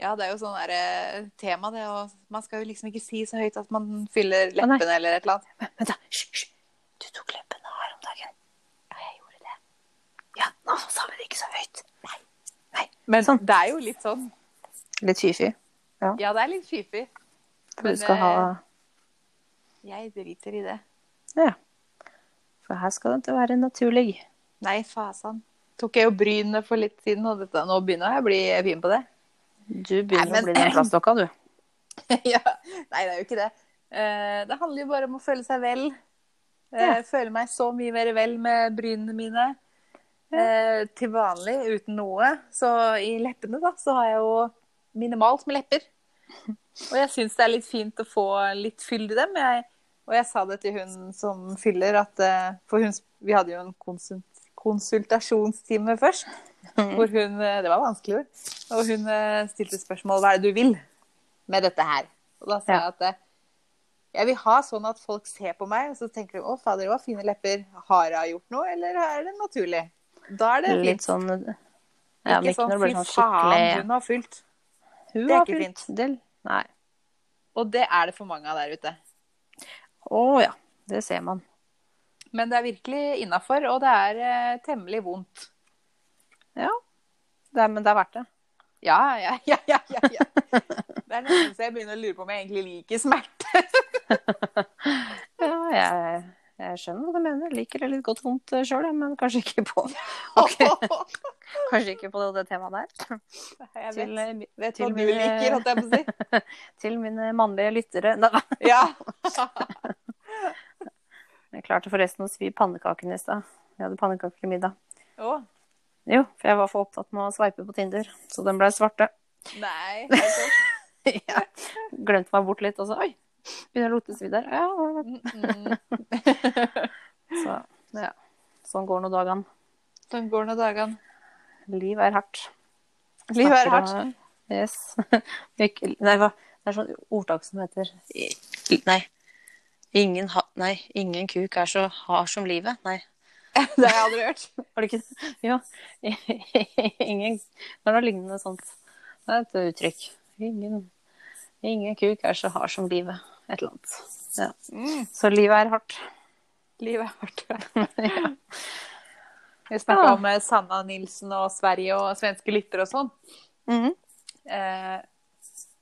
[SPEAKER 2] Ja, det er jo sånn der, eh, tema, det. Og man skal jo liksom ikke si så høyt at man fyller
[SPEAKER 1] Å, nei.
[SPEAKER 2] leppene eller et eller annet.
[SPEAKER 1] Vent, da. Hysj, hysj. Du tok leppene her om dagen. Ja, jeg gjorde det. Ja, nå sa vi det ikke så høyt. Nei.
[SPEAKER 2] Men
[SPEAKER 1] Sånn.
[SPEAKER 2] det er jo litt sånn.
[SPEAKER 1] Litt hyfy.
[SPEAKER 2] Ja, det er litt fifig.
[SPEAKER 1] For
[SPEAKER 2] Men,
[SPEAKER 1] du skal ha
[SPEAKER 2] Jeg driter i det.
[SPEAKER 1] Ja. For her skal det ikke være naturlig.
[SPEAKER 2] Nei, fasan. Tok jeg jo brynene for litt siden, og dette, nå begynner jeg å bli fin på det.
[SPEAKER 1] Du
[SPEAKER 2] Nei,
[SPEAKER 1] begynner
[SPEAKER 2] men-
[SPEAKER 1] å bli den plastdokka, du.
[SPEAKER 2] ja. Nei, det er jo ikke det. Eh, det handler jo bare om å føle seg vel.
[SPEAKER 1] Ja.
[SPEAKER 2] Eh, Føle meg så mye mer vel med brynene mine. Eh, til vanlig uten noe. Så i leppene, da, så har jeg jo minimalt med lepper. Og jeg syns det er litt fint å få litt fyll i dem. Jeg, og jeg sa det til hun som fyller, at eh, For hun, vi hadde jo en konsult, konsultasjonstime først.
[SPEAKER 1] Mhm.
[SPEAKER 2] Hvor hun eh, Det var vanskelig ord. Og hun eh, stilte spørsmål hva er det du vil med dette her. Og da sa
[SPEAKER 1] Ja.
[SPEAKER 2] jeg at eh, jeg vil ha sånn at folk ser på meg og så tenker de, å fader, det var fine lepper. Har jeg gjort noe, eller er det naturlig? Da er det
[SPEAKER 1] Litt
[SPEAKER 2] fint.
[SPEAKER 1] sånn Ja, men
[SPEAKER 2] ikke
[SPEAKER 1] ikke
[SPEAKER 2] sånn
[SPEAKER 1] når det blir sånn
[SPEAKER 2] fy faen,
[SPEAKER 1] skikkelig
[SPEAKER 2] hun har fylt.
[SPEAKER 1] Hun
[SPEAKER 2] det er
[SPEAKER 1] har
[SPEAKER 2] ikke
[SPEAKER 1] fylt del. Nei.
[SPEAKER 2] Og det er det for mange av der ute.
[SPEAKER 1] Å ja. Det ser man.
[SPEAKER 2] Men det er virkelig innafor, og det er eh, temmelig vondt.
[SPEAKER 1] Ja. Det er, men det er verdt det.
[SPEAKER 2] Ja, ja, ja, ja, ja, ja. Det er nesten så jeg begynner å lure på om jeg egentlig liker smerte.
[SPEAKER 1] Ja, jeg, jeg skjønner hva du mener. Liker det litt godt vondt eh, sjøl, men kanskje ikke på, kanskje ikke på det temaet der.
[SPEAKER 2] Jeg
[SPEAKER 1] Til,
[SPEAKER 2] vet, vet hva
[SPEAKER 1] til
[SPEAKER 2] du
[SPEAKER 1] mine-
[SPEAKER 2] liker, holdt jeg på å si.
[SPEAKER 1] til mine mannlige lyttere. Nei, nei.
[SPEAKER 2] Ja.
[SPEAKER 1] jeg klarte forresten å svi pannekakene i stad. Vi hadde pannekaker til middag.
[SPEAKER 2] Å,
[SPEAKER 1] Jo, for jeg var for opptatt med å sveipe på Tinder, så den ble svarte.
[SPEAKER 2] nei. det er godt.
[SPEAKER 1] Ja. Glemte meg bort litt, og så oi, begynner å lukte svidd der. Ja, hva- hva-
[SPEAKER 2] Mm, mm.
[SPEAKER 1] så, ja. Sånn går nå dagene.
[SPEAKER 2] Sånn går nå dagene.
[SPEAKER 1] Liv er hardt.
[SPEAKER 2] Livet er
[SPEAKER 1] Snakker
[SPEAKER 2] hardt.
[SPEAKER 1] om- Yes. Ikke- Nei, hva? Det er sånn ordtak som heter i- Nei. Ingen, ha, nei, ingen kuk er så hard som livet. Nei,
[SPEAKER 2] Det har jeg aldri hørt.
[SPEAKER 1] Har du ikke Ja. Ingen Det er noe lignende sånt. Det er et uttrykk. Ingen, ingen kuk er så hard som livet. Et eller annet. Ja.
[SPEAKER 2] Mm.
[SPEAKER 1] Så livet er hardt.
[SPEAKER 2] Livet er hardt. Vi snakka
[SPEAKER 1] Ah.
[SPEAKER 2] om eh, Sanna Nilsen og Sverige og svenske lyttere og sånn.
[SPEAKER 1] Mhm.
[SPEAKER 2] Eh,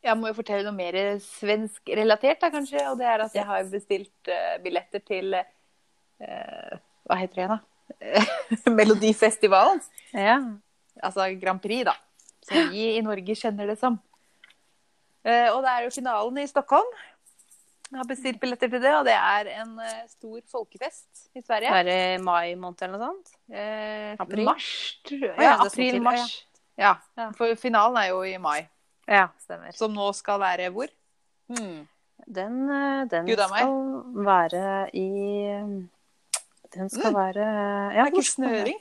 [SPEAKER 2] jeg må jo fortelle noe mer svenskrelatert, da, kanskje. Og det er at jeg har bestilt eh, billetter til eh, Hva heter det igjen, da? Melodifestivalen.
[SPEAKER 1] Ja.
[SPEAKER 2] Altså Grand Prix, da. Som vi i Norge kjenner det som. Eh, og det er jo finalen i Stockholm. Jeg har bestilt billetter til det, og det er en eh, stor folkefest i Sverige.
[SPEAKER 1] Er det mai måned eller noe sånt?
[SPEAKER 2] Eh,
[SPEAKER 1] April?
[SPEAKER 2] Mars, tror
[SPEAKER 1] Å,
[SPEAKER 2] jeg.
[SPEAKER 1] ja, det
[SPEAKER 2] Ja,
[SPEAKER 1] er så tidlig,
[SPEAKER 2] april-mars. Ja,
[SPEAKER 1] Ja.
[SPEAKER 2] for finalen er jo i mai.
[SPEAKER 1] Ja, stemmer.
[SPEAKER 2] Som nå skal være hvor? Hmm.
[SPEAKER 1] Den, eh, den
[SPEAKER 2] Gud a meg.
[SPEAKER 1] skal være i Den skal være Ja, hvor
[SPEAKER 2] Mm. Det er ikke
[SPEAKER 1] skal den være?
[SPEAKER 2] snøring.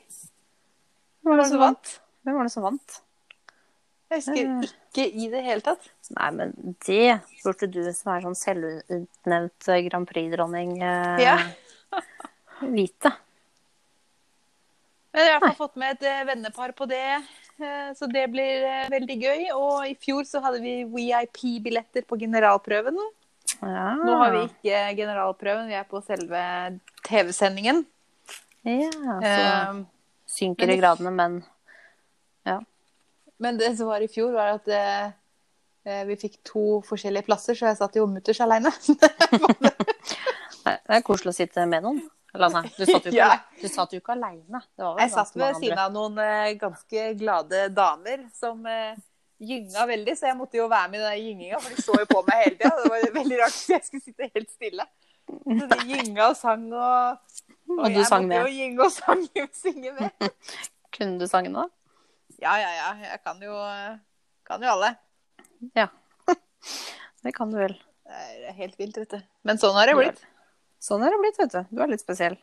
[SPEAKER 1] Hvem var
[SPEAKER 2] Hvem sånn.
[SPEAKER 1] det som vant? Hvem var det som vant?
[SPEAKER 2] Jeg husker ikke i det hele tatt.
[SPEAKER 1] Nei, men det burde du som er sånn selvutnevnt eh, Grand Prix-dronning eh,
[SPEAKER 2] Ja.
[SPEAKER 1] vite.
[SPEAKER 2] Men jeg har i hvert fall fått med et eh, vennepar på det, eh, så det blir eh, veldig gøy. Og i fjor så hadde vi VIP-billetter på generalprøven.
[SPEAKER 1] Ja.
[SPEAKER 2] Nå har vi ikke generalprøven, vi er på selve TV-sendingen.
[SPEAKER 1] Ja, så
[SPEAKER 2] Eh,
[SPEAKER 1] synker
[SPEAKER 2] men-
[SPEAKER 1] i gradene, men
[SPEAKER 2] Men det som var i fjor, var at eh, eh, vi fikk to forskjellige plasser, så jeg satt jo mutters aleine.
[SPEAKER 1] Nei, det er koselig å sitte med noen. Eller nei, du satt jo ikke,
[SPEAKER 2] Ja.
[SPEAKER 1] du satt jo ikke alene. Det var vel
[SPEAKER 2] Jeg satt
[SPEAKER 1] ganske
[SPEAKER 2] ved
[SPEAKER 1] mange
[SPEAKER 2] siden
[SPEAKER 1] andre.
[SPEAKER 2] av noen eh, ganske glade damer som eh, gynga veldig, så jeg måtte jo være med i den gynginga, for de så jo på meg hele tida. Det var veldig rart at jeg skulle sitte helt stille. Så de gynga og sang, og,
[SPEAKER 1] Og du sang
[SPEAKER 2] Jeg måtte jo gynge og sang, synge med.
[SPEAKER 1] Kunne du sangen da?
[SPEAKER 2] Ja, ja, ja. Jeg kan jo, eh, kan jo alle.
[SPEAKER 1] Det kan du vel.
[SPEAKER 2] Det er helt vilt, vet du. Men sånn har det blitt.
[SPEAKER 1] Sånn er det blitt, vet du. Du er litt spesiell.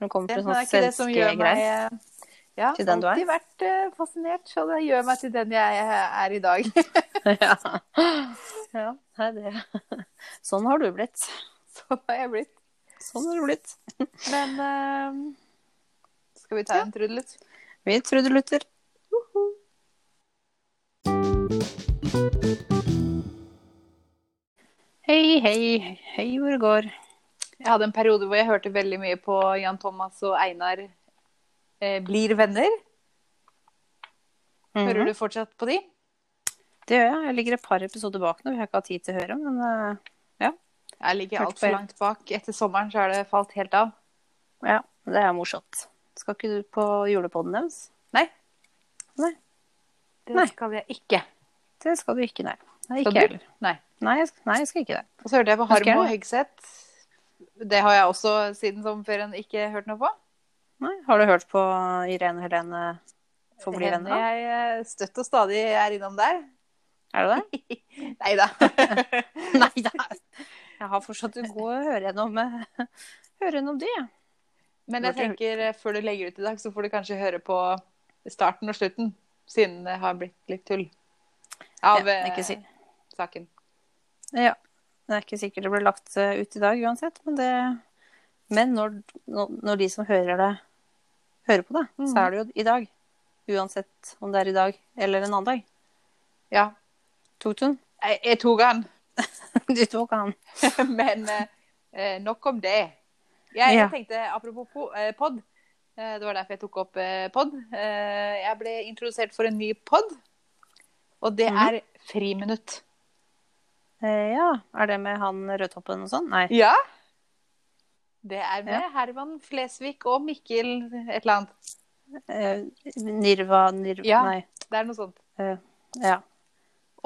[SPEAKER 1] Når det kommer
[SPEAKER 2] Det,
[SPEAKER 1] til
[SPEAKER 2] men det
[SPEAKER 1] sånne
[SPEAKER 2] er ikke det som
[SPEAKER 1] svenske
[SPEAKER 2] gjør meg
[SPEAKER 1] greier.
[SPEAKER 2] eh, ja,
[SPEAKER 1] sånn til den du er.
[SPEAKER 2] alltid vært eh, fascinert, så det gjør meg til den jeg eh, er i dag.
[SPEAKER 1] ja. ja, nei, det Sånn har du blitt.
[SPEAKER 2] Sånn har jeg blitt.
[SPEAKER 1] Sånn har du blitt.
[SPEAKER 2] Men eh, skal vi ta en trudelutt?
[SPEAKER 1] Vi trudelutter. Hei, hei. Hei hvor det går.
[SPEAKER 2] Jeg hadde en periode hvor jeg hørte veldig mye på Jan Thomas og Einar eh, blir venner. Hører du fortsatt på de?
[SPEAKER 1] Mhm. Det gjør jeg. Jeg ligger et par episoder bak nå. Vi har ikke hatt tid til å høre, men eh,
[SPEAKER 2] Jeg ligger
[SPEAKER 1] Hørte på
[SPEAKER 2] altfor
[SPEAKER 1] en.
[SPEAKER 2] langt bak. Etter sommeren så har det falt helt av.
[SPEAKER 1] ja, det er morsomt. Skal ikke du på julepodden deres?
[SPEAKER 2] Nei.
[SPEAKER 1] Nei.
[SPEAKER 2] Det
[SPEAKER 1] Nei.
[SPEAKER 2] skal jeg ikke.
[SPEAKER 1] Det skal du ikke, nei. Nei,
[SPEAKER 2] Skal
[SPEAKER 1] ikke
[SPEAKER 2] du?
[SPEAKER 1] jeg heller.
[SPEAKER 2] Nei.
[SPEAKER 1] Nei, jeg skal- nei, jeg skal ikke det.
[SPEAKER 2] Og så hørte jeg på
[SPEAKER 1] Husker jeg
[SPEAKER 2] Harm og
[SPEAKER 1] det?
[SPEAKER 2] Hegseth. Det har jeg også siden sommerferien ikke hørt noe på.
[SPEAKER 1] Nei. Har du hørt på Irene Helene Få bli venner?
[SPEAKER 2] Henne
[SPEAKER 1] da?
[SPEAKER 2] Jeg eh, støtt og stadig er innom der.
[SPEAKER 1] Er det det?
[SPEAKER 2] Nei da.
[SPEAKER 1] nei da. Jeg har fortsatt å gå og høre gjennom, eh, høre gjennom det. jeg.
[SPEAKER 2] Men jeg
[SPEAKER 1] Hørte-
[SPEAKER 2] tenker eh, før du legger ut i dag, så får du kanskje høre på starten og slutten. Siden det har blitt litt tull av
[SPEAKER 1] Ja,
[SPEAKER 2] eh,
[SPEAKER 1] ikke si.
[SPEAKER 2] saken.
[SPEAKER 1] Ja. Det er ikke sikkert det blir lagt eh, ut i dag uansett, men det Men når, når når de som hører det, hører på det, så er det jo i dag. Uansett om det er i dag eller en annen dag.
[SPEAKER 2] Ja.
[SPEAKER 1] Tok du den?
[SPEAKER 2] Jeg, jeg tok han,
[SPEAKER 1] Du tok han.
[SPEAKER 2] men eh, eh, nok om det. Jeg,
[SPEAKER 1] Ja.
[SPEAKER 2] jeg tenkte, apropos po- eh, pod, eh, det var derfor jeg tok opp eh, pod. Eh, jeg ble introdusert for en ny pod, og det
[SPEAKER 1] Mhm.
[SPEAKER 2] er Friminutt.
[SPEAKER 1] Eh, ja. Er det med han rødtoppen og sånn? Nei.
[SPEAKER 2] Ja. Det er med Herman Flesvig og Mikkel et eller annet.
[SPEAKER 1] Eh, Nirva Nirva
[SPEAKER 2] Ja.
[SPEAKER 1] Nei.
[SPEAKER 2] Det er noe sånt.
[SPEAKER 1] Eh, Ja. Ja,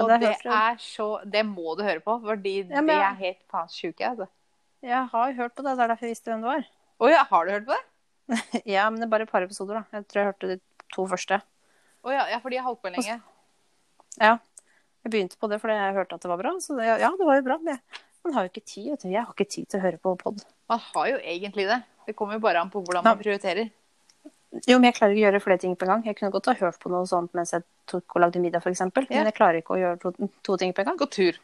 [SPEAKER 2] Og
[SPEAKER 1] det har
[SPEAKER 2] det
[SPEAKER 1] jeg hørt.
[SPEAKER 2] er så Det må du høre på, fordi
[SPEAKER 1] Ja, men-
[SPEAKER 2] de er helt faen sjuke, altså.
[SPEAKER 1] Jeg har hørt på det, det er derfor jeg visste hvem det var.
[SPEAKER 2] Å ja, har du hørt på det?
[SPEAKER 1] Ja, men det er bare et par episoder, da. Jeg tror jeg hørte de to første.
[SPEAKER 2] Å ja, ja, for de har holdt på lenge.
[SPEAKER 1] Jeg begynte på det fordi jeg hørte at det var bra, så det, ja, det var jo bra. Men jeg, man har jo ikke tid, vet du. Jeg har ikke tid til å høre på pod.
[SPEAKER 2] Man har jo egentlig det. Det kommer jo bare an på hvordan man
[SPEAKER 1] Ja.
[SPEAKER 2] prioriterer.
[SPEAKER 1] Jo, men jeg klarer ikke å gjøre flere ting på en gang. Jeg kunne godt ha hørt på noe sånt mens jeg tok og lagde middag, f.eks., eksempel
[SPEAKER 2] Ja.
[SPEAKER 1] men jeg klarer ikke å gjøre to, to ting på en gang.
[SPEAKER 2] Gå tur.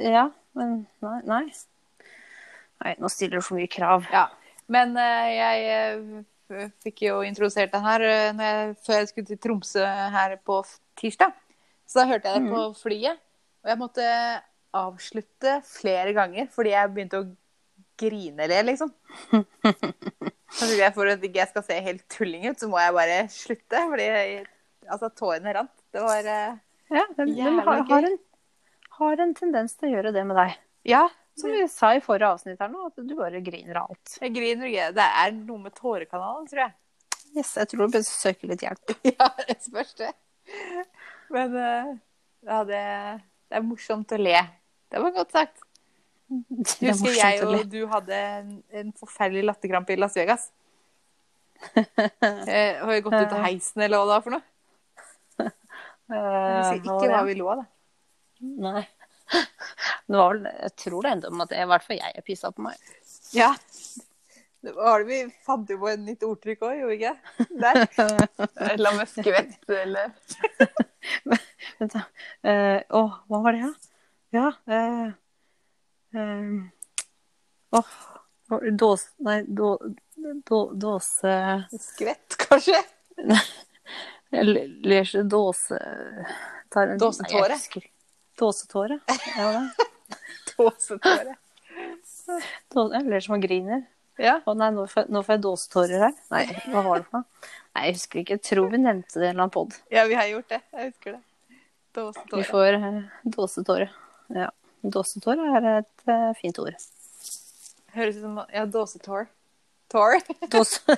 [SPEAKER 1] Ja, men nei. Nei, nei nå stiller du for mye krav.
[SPEAKER 2] Ja. Men eh, jeg eh, f- fikk jo introdusert den her eh, når jeg, før jeg skulle til Tromsø her på f- tirsdag. Så da hørte jeg det på flyet. Og jeg måtte avslutte flere ganger fordi jeg begynte å grinele, liksom. Så tror jeg For at ikke jeg skal se helt tulling ut, så må jeg bare slutte. Fordi jeg, altså, tårene rant. Det var eh,
[SPEAKER 1] Ja, den, den
[SPEAKER 2] Jævla
[SPEAKER 1] har,
[SPEAKER 2] gøy.
[SPEAKER 1] har, en, har en tendens til å gjøre det med deg.
[SPEAKER 2] Ja,
[SPEAKER 1] Som vi sa i forrige avsnitt her nå, at du bare griner av alt.
[SPEAKER 2] jeg griner og griner. Det er noe med tårekanalen, tror jeg.
[SPEAKER 1] Yes, jeg tror du bør søke litt hjelp.
[SPEAKER 2] Ja, det spørs det. Men eh, ja, det, det er morsomt å le. Det var godt sagt.
[SPEAKER 1] Det er
[SPEAKER 2] Husker
[SPEAKER 1] morsomt
[SPEAKER 2] jeg
[SPEAKER 1] å le.
[SPEAKER 2] og du hadde en, en forferdelig latterkrampe i Las Vegas. Eh, har vi gått ut av heisen, eller hva det var for noe? Jeg
[SPEAKER 1] Eh,
[SPEAKER 2] husker ikke hva vi lo av, da.
[SPEAKER 1] Nei. Det var vel, jeg tror det endte om at jeg, i hvert fall jeg pissa på meg.
[SPEAKER 2] Ja. Det var det vi fant jo på et nytt ordtrykk òg, gjorde vi ikke? Der. Et eller annet med skvett eller
[SPEAKER 1] Vent, da. Eh, Å, hva var det, da? Ja eh, eh, Åh Dås... Nei, då, då, dåse
[SPEAKER 2] Skvett, kanskje?
[SPEAKER 1] Jeg leser dåse... Tar,
[SPEAKER 2] Dåsetåre.
[SPEAKER 1] Nei, jeg husker ikke. Dåsetåre. Ja, det.
[SPEAKER 2] Tåsetåre.
[SPEAKER 1] Dåse- Jeg ler som man griner.
[SPEAKER 2] Ja.
[SPEAKER 1] Å nei, nå får, jeg- nå får jeg dåsetårer her. Nei, hva var det for noe? Nei, jeg husker ikke. Jeg tror vi nevnte det i en eller annen pod.
[SPEAKER 2] ja, vi har gjort det. Jeg husker det.
[SPEAKER 1] Vi
[SPEAKER 2] Tåsetåre.
[SPEAKER 1] får eh, dåsetåre. Ja. Dåsetåre er et eh, fint ord.
[SPEAKER 2] Høres ut som Ja, dåsetår. Tår.
[SPEAKER 1] Dåse...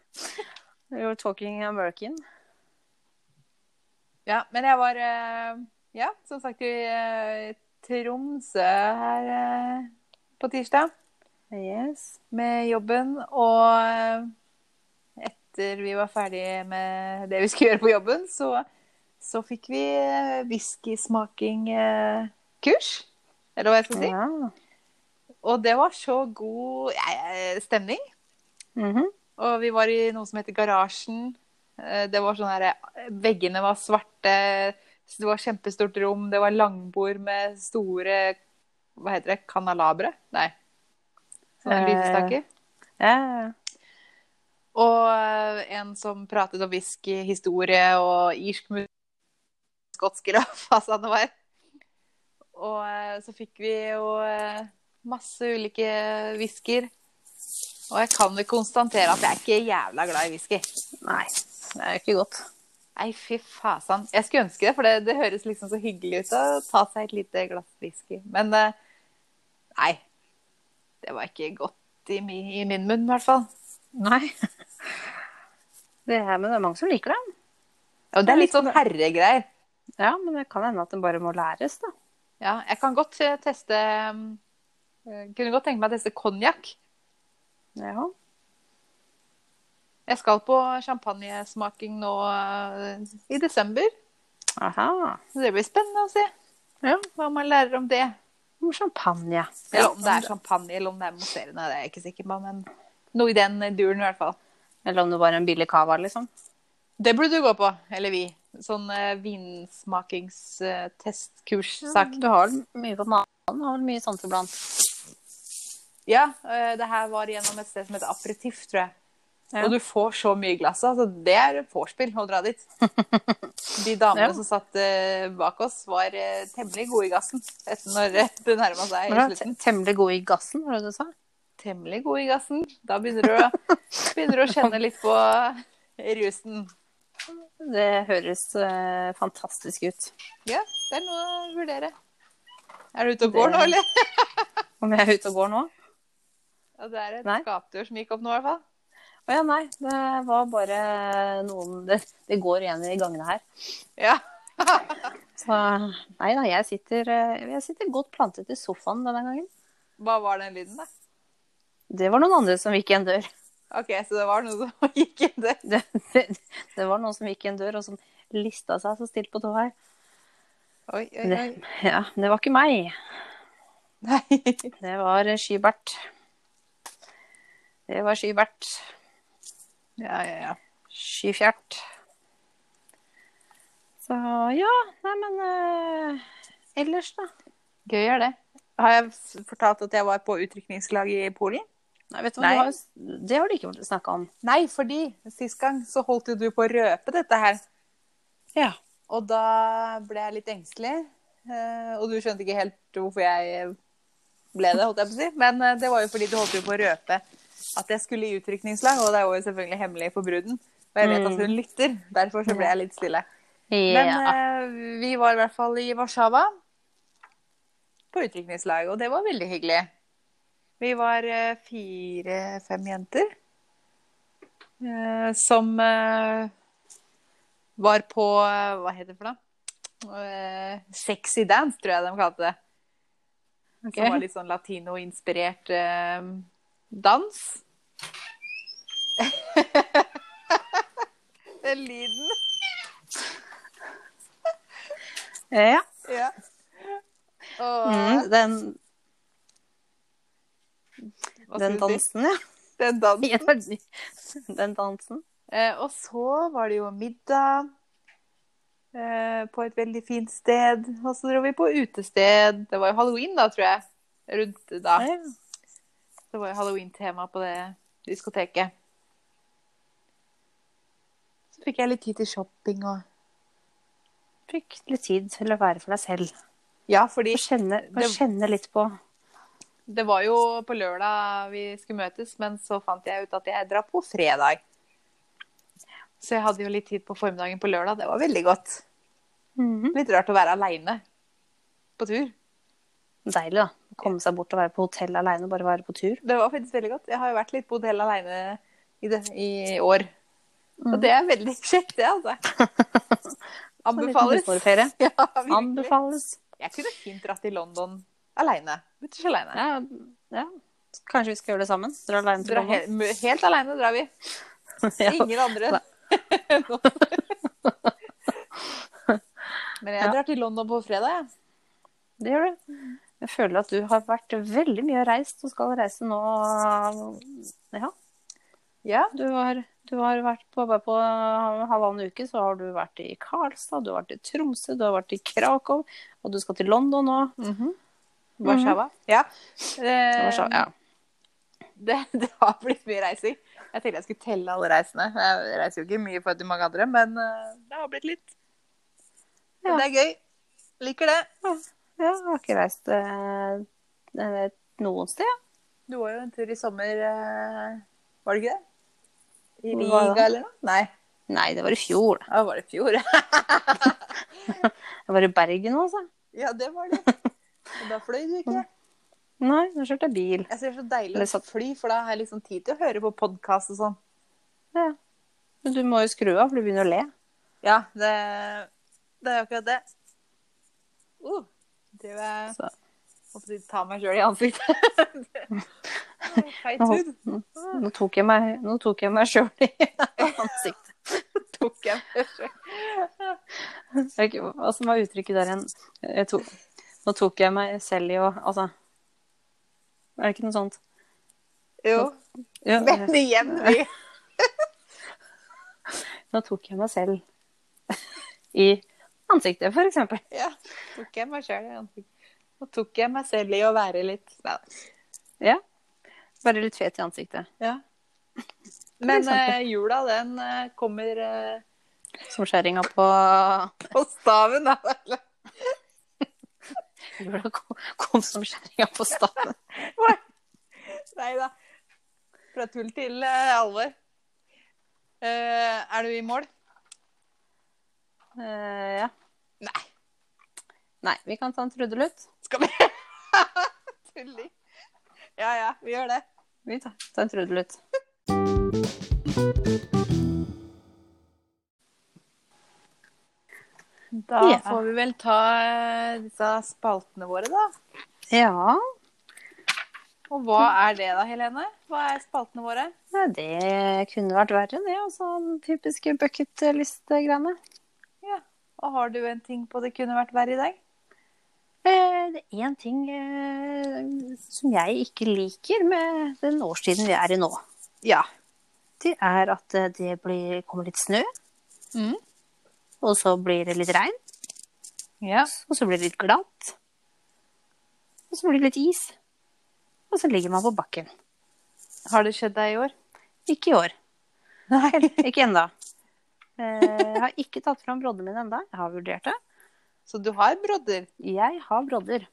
[SPEAKER 1] You're talking American.
[SPEAKER 2] Ja, men jeg var eh, Ja, som sagt i eh, Tromsø her eh, på tirsdag
[SPEAKER 1] Yes.
[SPEAKER 2] med jobben. Og eh, etter vi var ferdige med det vi skulle gjøre på jobben, så, så fikk vi eh, whiskysmaking-kurs. Eller hva jeg skal si.
[SPEAKER 1] Ja.
[SPEAKER 2] Og det var så god eh, stemning.
[SPEAKER 1] Mhm.
[SPEAKER 2] Og vi var i noe som heter Garasjen. Eh, Det var sånn her Veggene var svarte. så Det var kjempestort rom. Det var langbord med store Hva heter det? Kanalabre? Nei. Sånne
[SPEAKER 1] Eh.
[SPEAKER 2] lydstaker.
[SPEAKER 1] ja.
[SPEAKER 2] Og eh, en som pratet om whiskyhistorie og irsk musikk. Skotsk graff, altså det var. Og eh, så fikk vi jo eh, masse ulike whiskyer. Og jeg kan vel konstatere at jeg er ikke jævla glad i whisky.
[SPEAKER 1] Nei, det er jo ikke godt.
[SPEAKER 2] Nei, fy fasan. Jeg skulle ønske det, for det, det høres liksom så hyggelig ut å ta seg et lite glass whisky. Men eh, nei. Det var ikke godt i, mi, i min munn, i hvert fall.
[SPEAKER 1] Nei. Det er, men det er mange som liker det.
[SPEAKER 2] Og det er litt sånn herregreier.
[SPEAKER 1] Ja, men det kan hende at den bare må læres, da.
[SPEAKER 2] Ja, jeg kan godt eh, teste mm, eh, Kunne godt tenke meg å teste konjakk.
[SPEAKER 1] Ja.
[SPEAKER 2] Jeg skal på champagnesmaking nå eh, i desember.
[SPEAKER 1] Aha.
[SPEAKER 2] Så det blir spennende å se
[SPEAKER 1] Ja.
[SPEAKER 2] hva man lærer om det.
[SPEAKER 1] Og champagne.
[SPEAKER 2] Eller om det er champagne eller om det er mousserende, det er jeg ikke sikker på. Men noe i den duren, i hvert fall.
[SPEAKER 1] Eller om det var en billig cava, liksom.
[SPEAKER 2] Det burde du gå på, eller vi. Sånn uh, vinsmakingstestkurssak.
[SPEAKER 1] Du har vel mye på magen, har vel mye sånt iblant.
[SPEAKER 2] Ja, eh, det her var gjennom et sted som heter Aperitiff, tror jeg.
[SPEAKER 1] Ja.
[SPEAKER 2] Og du får så mye glass, altså. Det er vorspiel å dra dit. De damene
[SPEAKER 1] Ja.
[SPEAKER 2] som satt eh, bak oss, var eh, temmelig gode i gassen etter når eh, det nærma seg i
[SPEAKER 1] Men du
[SPEAKER 2] slutten.
[SPEAKER 1] er temmelig god i gassen, var det du sa?
[SPEAKER 2] Temmelig gode i gassen. Da begynner du, å, begynner du å kjenne litt på rusen.
[SPEAKER 1] Det høres eh, fantastisk ut.
[SPEAKER 2] Ja, det er noe å vurdere. Er du ute og
[SPEAKER 1] Det-
[SPEAKER 2] går nå, eller?
[SPEAKER 1] Om jeg er ute og går nå?
[SPEAKER 2] Ja, det er et
[SPEAKER 1] Nei.
[SPEAKER 2] skapdyr som gikk opp nå, i hvert fall.
[SPEAKER 1] Å ja, nei. Det var bare noen Det, det går igjen i gangene her.
[SPEAKER 2] Ja.
[SPEAKER 1] Så nei da, jeg sitter, eh, jeg sitter godt plantet i sofaen denne gangen.
[SPEAKER 2] Hva var den lyden, da?
[SPEAKER 1] Det var noen andre som gikk i en dør.
[SPEAKER 2] OK, så det var noe som gikk inn der.
[SPEAKER 1] Det, det, det var noen som gikk i en dør, og som lista seg så stilt på tå her.
[SPEAKER 2] Oi, oi,
[SPEAKER 1] Det,
[SPEAKER 2] oi.
[SPEAKER 1] ja, det var ikke meg.
[SPEAKER 2] Nei.
[SPEAKER 1] Det var eh, Skybert. Det var Skybert.
[SPEAKER 2] Ja, ja, ja.
[SPEAKER 1] Skyfjert. Så ja, nei, men eh, ellers, da.
[SPEAKER 2] Gøy er det. Har jeg s- fortalt at jeg var på utrykningslag i Polen?
[SPEAKER 1] Nei, vet du hva,
[SPEAKER 2] Nei.
[SPEAKER 1] Du har, jo- det har du ikke snakka om.
[SPEAKER 2] Nei, fordi sist gang så holdt jo du på å røpe dette her.
[SPEAKER 1] Ja.
[SPEAKER 2] Og da ble jeg litt engstelig. eh, Og du skjønte ikke helt hvorfor jeg ble det, holdt jeg på å si. Men eh, det var jo fordi du holdt jo på å røpe at jeg skulle i utrykningslag, og det var jo selvfølgelig hemmelig for bruden. Og jeg vet
[SPEAKER 1] Mm.
[SPEAKER 2] at hun lytter, derfor så ble jeg litt stille. Men
[SPEAKER 1] ja.
[SPEAKER 2] eh, vi var i hvert fall i Warszawa på utrykningslag, og det var veldig hyggelig. Vi var eh, fire-fem jenter eh, som eh, var på eh, Hva heter det for noe? Eh, sexy dance, tror jeg de kalte det.
[SPEAKER 1] Ok.
[SPEAKER 2] Som var litt sånn latinoinspirert eh, dans. Den lyden.
[SPEAKER 1] ja.
[SPEAKER 2] Ja. Og
[SPEAKER 1] Mm, den,
[SPEAKER 2] hva
[SPEAKER 1] den
[SPEAKER 2] skulle du si?
[SPEAKER 1] dansen, ja.
[SPEAKER 2] Den dansen.
[SPEAKER 1] Den dansen.
[SPEAKER 2] Eh, og så var det jo middag eh, på et veldig fint sted. Og så dro vi på utested. Det var jo halloween da, tror jeg. Rundt da. Det var jo halloween-tema på det diskoteket. Så fikk jeg litt tid til shopping og
[SPEAKER 1] Fikk litt tid til å være for deg selv.
[SPEAKER 2] Ja, fordi
[SPEAKER 1] Få Kjenne, få
[SPEAKER 2] Det-
[SPEAKER 1] kjenne litt på
[SPEAKER 2] det var jo på lørdag vi skulle møtes, men så fant jeg ut at jeg drar på fredag. Så jeg hadde jo litt tid på formiddagen på lørdag. Det var veldig godt.
[SPEAKER 1] Mhm.
[SPEAKER 2] Litt rart å være aleine på tur.
[SPEAKER 1] Deilig, da. Å Komme seg bort og være på hotell aleine og bare være på tur.
[SPEAKER 2] Det var faktisk veldig godt. Jeg har jo vært litt på hotell alene i, det, i år. Og det er veldig kjekt, det, altså. Anbefales.
[SPEAKER 1] Mm. Så en liten husmorferie.
[SPEAKER 2] Ja, virkelig.
[SPEAKER 1] Anbefales.
[SPEAKER 2] Jeg kunne fint dratt til London alene. Mutters alene.
[SPEAKER 1] Ja, ja. Kanskje vi skal gjøre det sammen? Dra alene til
[SPEAKER 2] Dra he
[SPEAKER 1] London.
[SPEAKER 2] mu- helt alene drar vi.
[SPEAKER 1] Ja.
[SPEAKER 2] Ingen andre. Men jeg
[SPEAKER 1] Ja.
[SPEAKER 2] drar til London på fredag, jeg.
[SPEAKER 1] Det gjør du. Jeg føler at du har vært veldig mye reist og skal reise nå. Ja,
[SPEAKER 2] Ja.
[SPEAKER 1] du har, du har vært på bare på halvannen uke, så har du vært i Karlstad, du har vært i Tromsø, du har vært i Krakow, og du skal til London nå. Mhm.
[SPEAKER 2] Warszawa. Ja. Eh,
[SPEAKER 1] Det var så, Mhm. ja.
[SPEAKER 2] det, det har blitt mye reising. Jeg tenkte jeg skulle telle alle reisene. Jeg reiser jo ikke mye for til mange andre, men eh, det har blitt litt. Men
[SPEAKER 1] Ja.
[SPEAKER 2] Det er gøy. Liker det.
[SPEAKER 1] Ja, jeg har ikke reist eh, eh, noen sted. ja.
[SPEAKER 2] Du var jo en tur i sommer, eh, var det ikke det? I
[SPEAKER 1] Hvor
[SPEAKER 2] Riga
[SPEAKER 1] var det?
[SPEAKER 2] eller noe? Nei,
[SPEAKER 1] Nei, det var i fjor. da.
[SPEAKER 2] ja, var det i fjor?
[SPEAKER 1] Jeg var i Bergen, altså.
[SPEAKER 2] ja, det var det. Men da fløy du ikke.
[SPEAKER 1] Nei, da kjørte jeg bil.
[SPEAKER 2] Jeg ser så deilig
[SPEAKER 1] Mm. Eller
[SPEAKER 2] å
[SPEAKER 1] satt-
[SPEAKER 2] fly, for da har jeg liksom tid til å høre på podkast og sånn.
[SPEAKER 1] Ja. Men du må jo skru av, for du begynner å le.
[SPEAKER 2] Ja, det, det er akkurat det. Uh, det var...
[SPEAKER 1] Så.
[SPEAKER 2] Håper de tar meg sjøl i ansiktet. Å, Feit
[SPEAKER 1] Nå,
[SPEAKER 2] hud.
[SPEAKER 1] nå tok jeg meg, nå tok jeg meg sjøl i ansiktet.
[SPEAKER 2] Tok jeg meg selv.
[SPEAKER 1] Jeg vet ikke Hva som var uttrykket der igjen? Jeg tok, nå tok jeg meg selv i å Altså Er det ikke noe sånt?
[SPEAKER 2] Jo,
[SPEAKER 1] Ja,
[SPEAKER 2] men igjen vi.
[SPEAKER 1] nå tok jeg meg selv i ansiktet, for eksempel.
[SPEAKER 2] Ja, tok jeg meg sjøl i ansiktet. Nå tok jeg meg selv i å være litt Neida.
[SPEAKER 1] Ja. Bare litt fet i ansiktet.
[SPEAKER 2] Ja. Men
[SPEAKER 1] sant,
[SPEAKER 2] eh, jula, den eh, kommer eh,
[SPEAKER 1] Som skjæringa på
[SPEAKER 2] på staven, da.
[SPEAKER 1] Jula kom, kom som skjæringa på staven.
[SPEAKER 2] Nei da. Fra tull til eh, alvor. Eh, er du i mål?
[SPEAKER 1] Eh, ja.
[SPEAKER 2] Nei.
[SPEAKER 1] Nei, vi kan ta en trudelutt.
[SPEAKER 2] Skal vi Tulling. Ja ja, vi gjør det.
[SPEAKER 1] Vi tar, tar en trudelutt.
[SPEAKER 2] Da
[SPEAKER 1] Ja.
[SPEAKER 2] får vi vel ta eh, disse spaltene våre, da.
[SPEAKER 1] Ja.
[SPEAKER 2] Og hva er det da, Helene? Hva er spaltene våre?
[SPEAKER 1] Nei, det kunne vært verre, det. Altså den typiske bucketlist-greiene.
[SPEAKER 2] Ja. Og har du en ting på det kunne vært verre i dag?
[SPEAKER 1] Eh, Det er én ting eh, som jeg ikke liker med den årstiden vi er i nå.
[SPEAKER 2] Ja.
[SPEAKER 1] Det er at eh, det blir, kommer litt snø,
[SPEAKER 2] Mm.
[SPEAKER 1] og så blir det litt regn,
[SPEAKER 2] Ja.
[SPEAKER 1] og så blir det litt glatt. Og så blir det litt is. Og så ligger man på bakken.
[SPEAKER 2] Har det skjedd deg i år?
[SPEAKER 1] Ikke i år.
[SPEAKER 2] Nei.
[SPEAKER 1] Ikke ennå. Eh, Jeg har ikke tatt fram broddene mine ennå. Jeg har vurdert det.
[SPEAKER 2] Så du har brodder?
[SPEAKER 1] Jeg har brodder.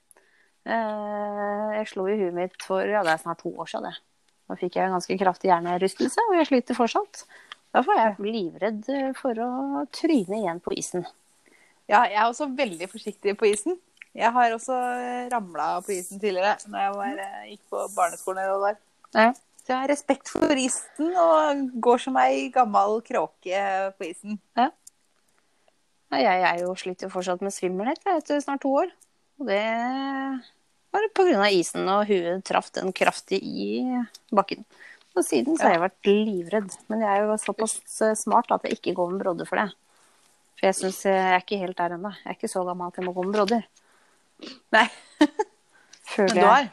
[SPEAKER 1] Eh, Jeg slo i huet mitt for ja, det er snart to år siden. det. Da fikk jeg en ganske kraftig hjernerystelse, og jeg sliter fortsatt. Derfor er jeg livredd for å tryne igjen på isen.
[SPEAKER 2] Ja, jeg er også veldig forsiktig på isen. Jeg har også ramla på isen tidligere, når jeg var, eh, gikk på barneskolen. eller hva det var.
[SPEAKER 1] Ja.
[SPEAKER 2] Så jeg har respekt for isen og går som ei gammel kråke på isen.
[SPEAKER 1] Nei, Jeg er jo sliter jo fortsatt med svimmelhet jeg, etter snart to år. Og det var på grunn av isen, og huet traff den kraftig i bakken. Og siden så har jeg vært livredd. Men jeg er jo såpass eh, smart at jeg ikke går med brodder for det. For jeg syns jeg er ikke helt der ennå. Jeg er ikke så gammel at jeg må gå med brodder.
[SPEAKER 2] Nei,
[SPEAKER 1] Føler
[SPEAKER 2] men du har?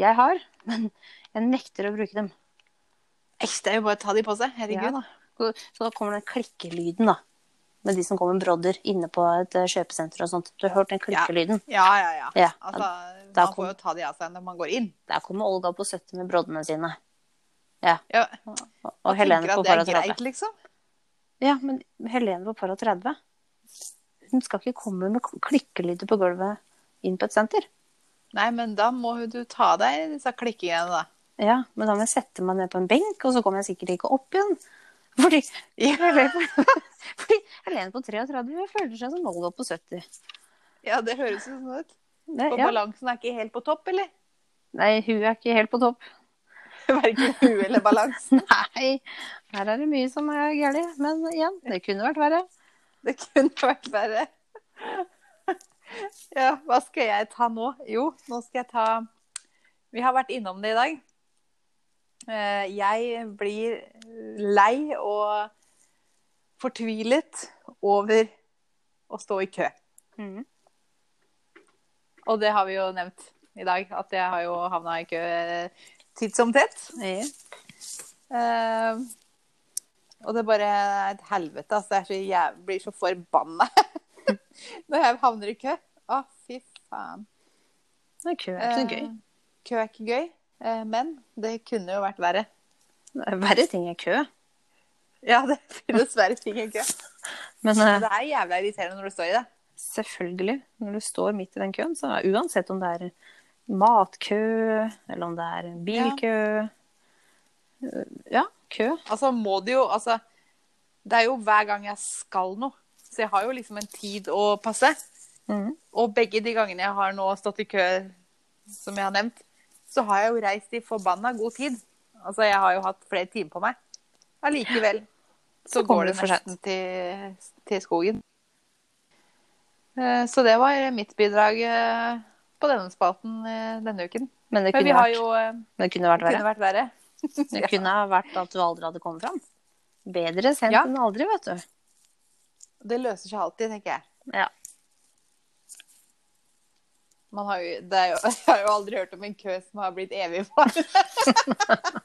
[SPEAKER 1] Jeg har, men jeg nekter å bruke dem.
[SPEAKER 2] Ekte er jo bare å ta de på seg. Herregud.
[SPEAKER 1] Ja da. Så da kommer den klikkelyden, da. Med de som går med brodder inne på et eh, kjøpesenter og sånt. Du har hørt den klikkelyden?
[SPEAKER 2] ja, ja. ja.
[SPEAKER 1] Ja.
[SPEAKER 2] Altså,
[SPEAKER 1] Da
[SPEAKER 2] man får jo ta de av seg når man går inn.
[SPEAKER 1] Der kommer Olga på 70 med broddene sine.
[SPEAKER 2] Ja,
[SPEAKER 1] Og,
[SPEAKER 2] man
[SPEAKER 1] og Helene
[SPEAKER 2] tenker
[SPEAKER 1] på
[SPEAKER 2] at det
[SPEAKER 1] para
[SPEAKER 2] er
[SPEAKER 1] 30.
[SPEAKER 2] greit, liksom.
[SPEAKER 1] Ja, men Helene på para 30 Hun skal ikke komme med k- klikkelyder på gulvet inn på et senter.
[SPEAKER 2] Nei, men da må jo du ta av deg disse klikkingene, da.
[SPEAKER 1] Ja, men da må jeg sette meg ned på en benk, og så kommer jeg sikkert ikke opp igjen. Fordi, fordi Helene på 33 hun føler seg som Olga på 70.
[SPEAKER 2] Ja, det høres jo sånn ut.
[SPEAKER 1] Det,
[SPEAKER 2] For
[SPEAKER 1] ja.
[SPEAKER 2] balansen er ikke helt på topp, eller?
[SPEAKER 1] Nei, hun er ikke helt på topp.
[SPEAKER 2] Verken hue eller balansen.
[SPEAKER 1] Nei, her er det mye som er galt. Men igjen, det kunne vært verre.
[SPEAKER 2] Det kunne vært verre. Ja, hva skal jeg ta nå? Jo, nå skal jeg ta Vi har vært innom det i dag. Eh, Jeg blir lei og fortvilet over å stå i kø. Mm. Og det har vi jo nevnt i dag, at jeg har jo havna i kø eh, titt som tett.
[SPEAKER 1] Ja.
[SPEAKER 2] Eh, og det er bare et helvete. Altså, det er så, jeg blir så forbanna når jeg havner i kø. Å, fy faen.
[SPEAKER 1] Men kø er ikke så
[SPEAKER 2] Eh,
[SPEAKER 1] gøy.
[SPEAKER 2] kø er ikke gøy, eh, men det kunne jo vært verre.
[SPEAKER 1] Det er Verre ting er kø.
[SPEAKER 2] Ja, det finnes verre ting enn kø.
[SPEAKER 1] Men
[SPEAKER 2] Men
[SPEAKER 1] eh,
[SPEAKER 2] Det er jævla irriterende når du står i det.
[SPEAKER 1] selvfølgelig, når du står midt i den køen, så er uansett om det er matkø, eller om det er en bilkø eh, Ja, kø.
[SPEAKER 2] Altså, må du jo Altså, det er jo hver gang jeg skal noe. Så jeg har jo liksom en tid å passe.
[SPEAKER 1] Mhm.
[SPEAKER 2] Og begge de gangene jeg har nå stått i kø, som jeg har nevnt, så har jeg jo reist i forbanna god tid. Altså, jeg har jo hatt flere timer på meg. Allikevel så,
[SPEAKER 1] Så kommer
[SPEAKER 2] går det
[SPEAKER 1] du for sent.
[SPEAKER 2] nesten til, til skogen. Eh, Så det var mitt bidrag eh, på denne spalten eh, denne uken.
[SPEAKER 1] Men det
[SPEAKER 2] Men vi
[SPEAKER 1] kunne,
[SPEAKER 2] har
[SPEAKER 1] vært,
[SPEAKER 2] jo eh,
[SPEAKER 1] det kunne vært
[SPEAKER 2] Det kunne
[SPEAKER 1] verre.
[SPEAKER 2] vært verre.
[SPEAKER 1] Det kunne ha vært at du aldri hadde kommet fram. Bedre sent
[SPEAKER 2] Ja.
[SPEAKER 1] enn aldri, vet du.
[SPEAKER 2] Det løser seg alltid, tenker jeg.
[SPEAKER 1] Ja.
[SPEAKER 2] Man har jo, det er jo, jeg har jo aldri hørt om en kø som har blitt evig varende.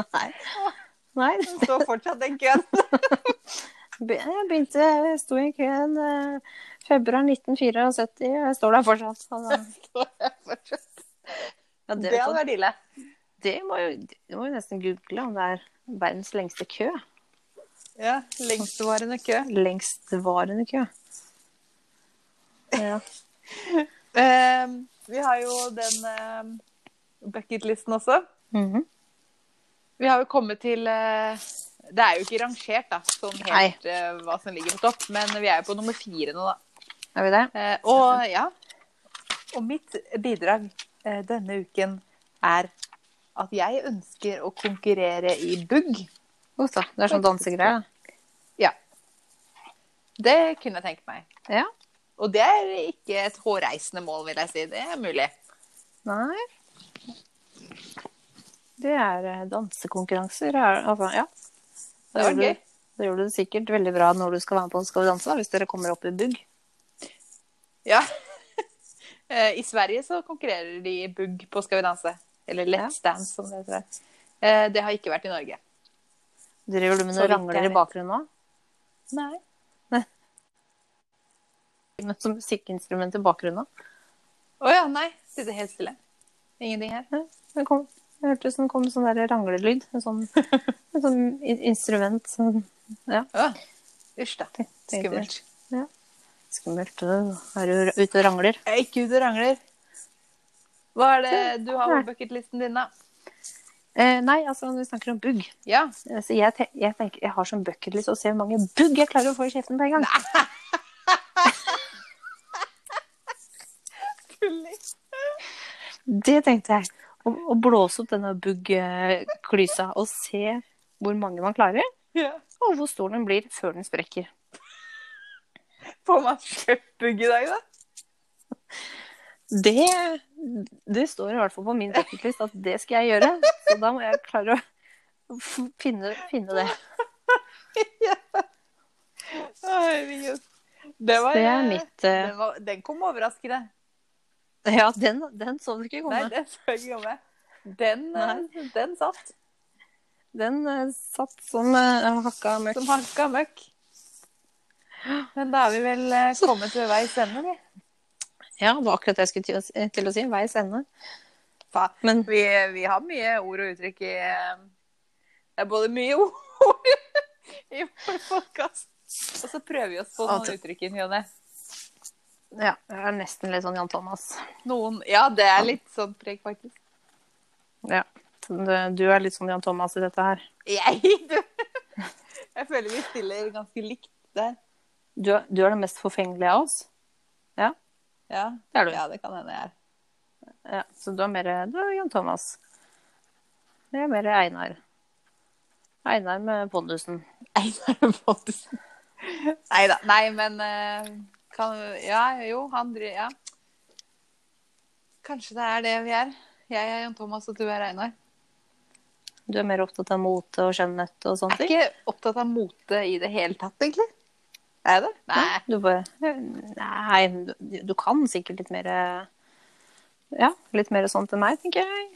[SPEAKER 1] Nei. Nei.
[SPEAKER 2] Det står fortsatt den køen.
[SPEAKER 1] Be- Jeg begynte, jeg sto i køen eh, februar 1974, og jeg står der fortsatt. Så da-
[SPEAKER 2] Det
[SPEAKER 1] Ja, det,
[SPEAKER 2] hadde
[SPEAKER 1] vet du.
[SPEAKER 2] vært ille.
[SPEAKER 1] det må jo, det må jo nesten google om det er verdens lengste kø.
[SPEAKER 2] Ja, Lengstvarende kø.
[SPEAKER 1] Lengstvarende kø. Ja.
[SPEAKER 2] Eh, vi har jo den eh, bucketlisten også.
[SPEAKER 1] Mhm.
[SPEAKER 2] Vi har jo kommet til eh, Det er jo ikke rangert, da, sånn helt eh, hva som ligger på topp, men vi er jo på nummer fire nå, da.
[SPEAKER 1] Er vi der?
[SPEAKER 2] Eh, og ja. Og mitt bidrag eh, denne uken er at jeg ønsker å konkurrere i bugg.
[SPEAKER 1] Uff da, det er sånn dansegreier.
[SPEAKER 2] Ja. Det kunne jeg tenke meg.
[SPEAKER 1] da. Ja.
[SPEAKER 2] Og det er ikke et hårreisende mål, vil jeg si. Det er mulig.
[SPEAKER 1] Nei. Det er eh, dansekonkurranser. er- Altså, ja. Da
[SPEAKER 2] Det var
[SPEAKER 1] gjør du-
[SPEAKER 2] gøy.
[SPEAKER 1] Da gjør du det sikkert veldig bra når du skal være med på Skal vi danse, da, hvis dere kommer opp i bugg.
[SPEAKER 2] Ja. Eh, I Sverige så konkurrerer de i bugg på Skal vi danse. Eller Let's Dance, som det heter. Eh, Det har ikke vært i Norge.
[SPEAKER 1] Driver du med
[SPEAKER 2] Så
[SPEAKER 1] noen
[SPEAKER 2] vidt
[SPEAKER 1] rangler
[SPEAKER 2] jeg
[SPEAKER 1] i
[SPEAKER 2] vet.
[SPEAKER 1] bakgrunnen nå?
[SPEAKER 2] Nei.
[SPEAKER 1] Med som musikkinstrument i bakgrunnen?
[SPEAKER 2] Å ja, nei. Sitter helt stille. Ingenting her.
[SPEAKER 1] Det kom, jeg hørte som kom sånn der ranglelyd. En sånn, en sånn in- instrument. Sånn,
[SPEAKER 2] Å, Usj, da.
[SPEAKER 1] tenkte jeg.
[SPEAKER 2] Skummelt.
[SPEAKER 1] Skummelt. øh, Er du ra- ute og rangler?
[SPEAKER 2] Jeg er ikke ute og rangler. Hva er det du har på
[SPEAKER 1] Nei.
[SPEAKER 2] bucketlisten din, da?
[SPEAKER 1] Eh, nei, altså når vi snakker om bugg.
[SPEAKER 2] Ja.
[SPEAKER 1] eh, Så jeg, te- jeg tenker, jeg har som bucketlist å se hvor mange bugg jeg klarer å få i kjeften på en gang. Det tenkte jeg. Å, å blåse opp denne bugg-klysa og se hvor mange man klarer,
[SPEAKER 2] Ja.
[SPEAKER 1] og hvor stor den blir før den sprekker.
[SPEAKER 2] Får man kjøpt bugg i dag, da?
[SPEAKER 1] Det, det står i hvert fall på min bucketlist at det skal jeg gjøre. Så da må jeg klare å f- finne, finne det.
[SPEAKER 2] Å, Herregud. Det var,
[SPEAKER 1] Det er
[SPEAKER 2] eh,
[SPEAKER 1] mitt eh,
[SPEAKER 2] Den, var, den kom overraskende.
[SPEAKER 1] Ja, den, den så du ikke
[SPEAKER 2] Nei,
[SPEAKER 1] komme.
[SPEAKER 2] den så jeg ikke komme. Den, eh, den satt.
[SPEAKER 1] Den eh, satt som eh, hakka møkk.
[SPEAKER 2] Som hanka møkk. Men da er vi vel eh, kommet ved veis ende, vi.
[SPEAKER 1] Ja, det var akkurat det jeg skulle til å si. Til å si veis ende.
[SPEAKER 2] Fa-
[SPEAKER 1] Men
[SPEAKER 2] Vi, vi har mye ord og uttrykk i eh, Det er både mye ord i vår podkast, og så prøver vi oss på
[SPEAKER 1] At-
[SPEAKER 2] noen uttrykk i ny og ne.
[SPEAKER 1] ja, jeg er nesten litt sånn Jan Thomas.
[SPEAKER 2] Noen Ja, det er litt sånn preg, faktisk.
[SPEAKER 1] Ja. Du- Du er litt sånn Jan Thomas i dette her.
[SPEAKER 2] Jeg, du. jeg føler vi stiller ganske likt der.
[SPEAKER 1] Du er, du er den mest forfengelige av oss.
[SPEAKER 2] Ja,
[SPEAKER 1] Det er du.
[SPEAKER 2] ja det kan hende jeg er.
[SPEAKER 1] Ja, så du er mer du er Jan Thomas. Jeg er mer Einar. Einar med pondusen.
[SPEAKER 2] Einar Fontesen. Nei da. Nei, men eh, kan, Ja, jo, han driver Ja. Kanskje det er det vi er. Jeg er Jan Thomas, og du er Einar.
[SPEAKER 1] Du er mer opptatt av mote og skjønnhet og sånne
[SPEAKER 2] Jeg er
[SPEAKER 1] ting.
[SPEAKER 2] ikke opptatt av mote i det hele tatt, egentlig. Er jeg det? Nei.
[SPEAKER 1] Du bare Nei, du, du kan sikkert litt mer Ja, litt mer sånt enn meg, tenker jeg.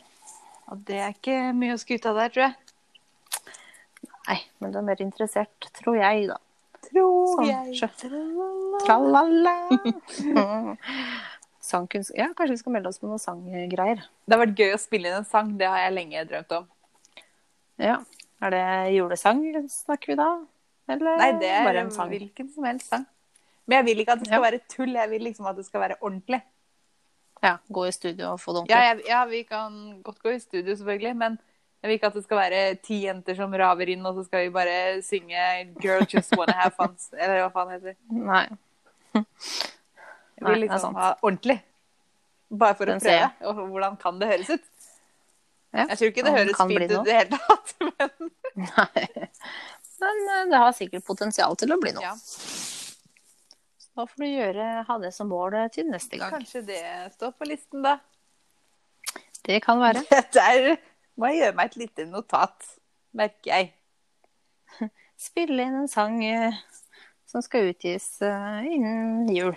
[SPEAKER 2] Og det er ikke mye å skryte av der, tror jeg.
[SPEAKER 1] Nei, men du er mer interessert, tror jeg, da.
[SPEAKER 2] Tror
[SPEAKER 1] Sånn,
[SPEAKER 2] jeg.
[SPEAKER 1] Tralala. Mm. Sangkunst Ja, kanskje vi skal melde oss på noen sanggreier.
[SPEAKER 2] Det har vært gøy å spille inn en sang. Det har jeg lenge drømt om.
[SPEAKER 1] Ja. Er det julesang snakker vi da? Eller
[SPEAKER 2] Nei, det er
[SPEAKER 1] bare en sang?
[SPEAKER 2] hvilken som helst sang. Men jeg vil ikke at det skal være tull. Jeg vil liksom at det skal være ordentlig.
[SPEAKER 1] Ja, gå i studio og få det
[SPEAKER 2] Ja,
[SPEAKER 1] ordentlig.
[SPEAKER 2] jeg, ja, vi kan godt gå i studio, selvfølgelig, men jeg vil ikke at det skal være ti jenter som raver inn, og så skal vi bare synge 'Girl Just Wanna Have Fun', eller hva faen heter det.
[SPEAKER 1] Nei.
[SPEAKER 2] Jeg
[SPEAKER 1] Nei,
[SPEAKER 2] vil
[SPEAKER 1] det er
[SPEAKER 2] liksom
[SPEAKER 1] sant.
[SPEAKER 2] ha ordentlig. Bare for
[SPEAKER 1] Den
[SPEAKER 2] å
[SPEAKER 1] ser jeg.
[SPEAKER 2] prøve. Og hvordan kan det høres ut?
[SPEAKER 1] Ja,
[SPEAKER 2] Jeg tror ikke det
[SPEAKER 1] om det
[SPEAKER 2] høres
[SPEAKER 1] kan bli
[SPEAKER 2] fint ut
[SPEAKER 1] noe.
[SPEAKER 2] i det hele tatt, men
[SPEAKER 1] Nei. Men eh, det har sikkert potensial til å bli noe.
[SPEAKER 2] ja,
[SPEAKER 1] Så Da får du gjøre, ha det som mål eh, til neste gang.
[SPEAKER 2] kanskje det står på listen, da.
[SPEAKER 1] Det kan være.
[SPEAKER 2] Der må jeg gjøre meg et lite notat, merker jeg.
[SPEAKER 1] Spille inn en sang eh, som skal utgis eh, innen jul.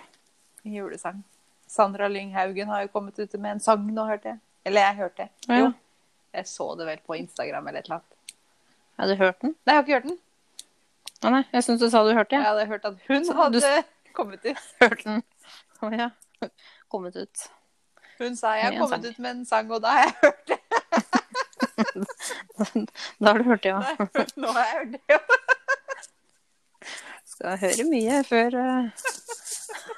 [SPEAKER 2] En julesang. Sandra Lynghaugen har jo kommet ute med en sang nå, hørte jeg. Eller jeg hørte det.
[SPEAKER 1] Ja.
[SPEAKER 2] Jo. Jeg så det vel på Instagram eller et eller annet.
[SPEAKER 1] Har du hørt den?
[SPEAKER 2] Nei, jeg har ikke hørt den.
[SPEAKER 1] Å nei, jeg syns du sa du hørte
[SPEAKER 2] Jeg
[SPEAKER 1] den. Ja.
[SPEAKER 2] hadde hørt at hun
[SPEAKER 1] Så du-
[SPEAKER 2] hadde kommet ut.
[SPEAKER 1] Hørt den. Å ja. Kommet ut.
[SPEAKER 2] Hun sa jeg har
[SPEAKER 1] Med en
[SPEAKER 2] kommet
[SPEAKER 1] sang.
[SPEAKER 2] ut med en sang, og da har jeg hørt det.
[SPEAKER 1] Da har du hørt det, ja.
[SPEAKER 2] Da har jeg hørt- Nå har jeg hørt det. jo.
[SPEAKER 1] Skal høre mye før eh,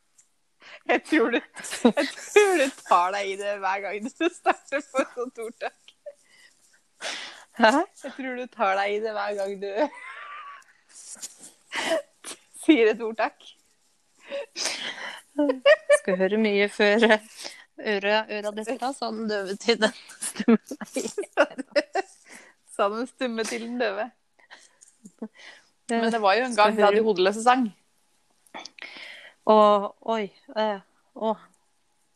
[SPEAKER 2] Jeg tror du, jeg tror du tar deg i det hver gang du starter på et sånt ordtak.
[SPEAKER 1] Hæ?
[SPEAKER 2] Jeg tror du tar deg i det hver gang du sier et ordtak.
[SPEAKER 1] Skal høre mye før eh, øra, øra detta, sa altså, den døve til den stumme.
[SPEAKER 2] Sa den stumme til den døve.
[SPEAKER 1] Eh,
[SPEAKER 2] Men det var jo en
[SPEAKER 1] Skal
[SPEAKER 2] gang vi
[SPEAKER 1] høre-
[SPEAKER 2] hadde hodeløse sang.
[SPEAKER 1] Og oi eh, Å,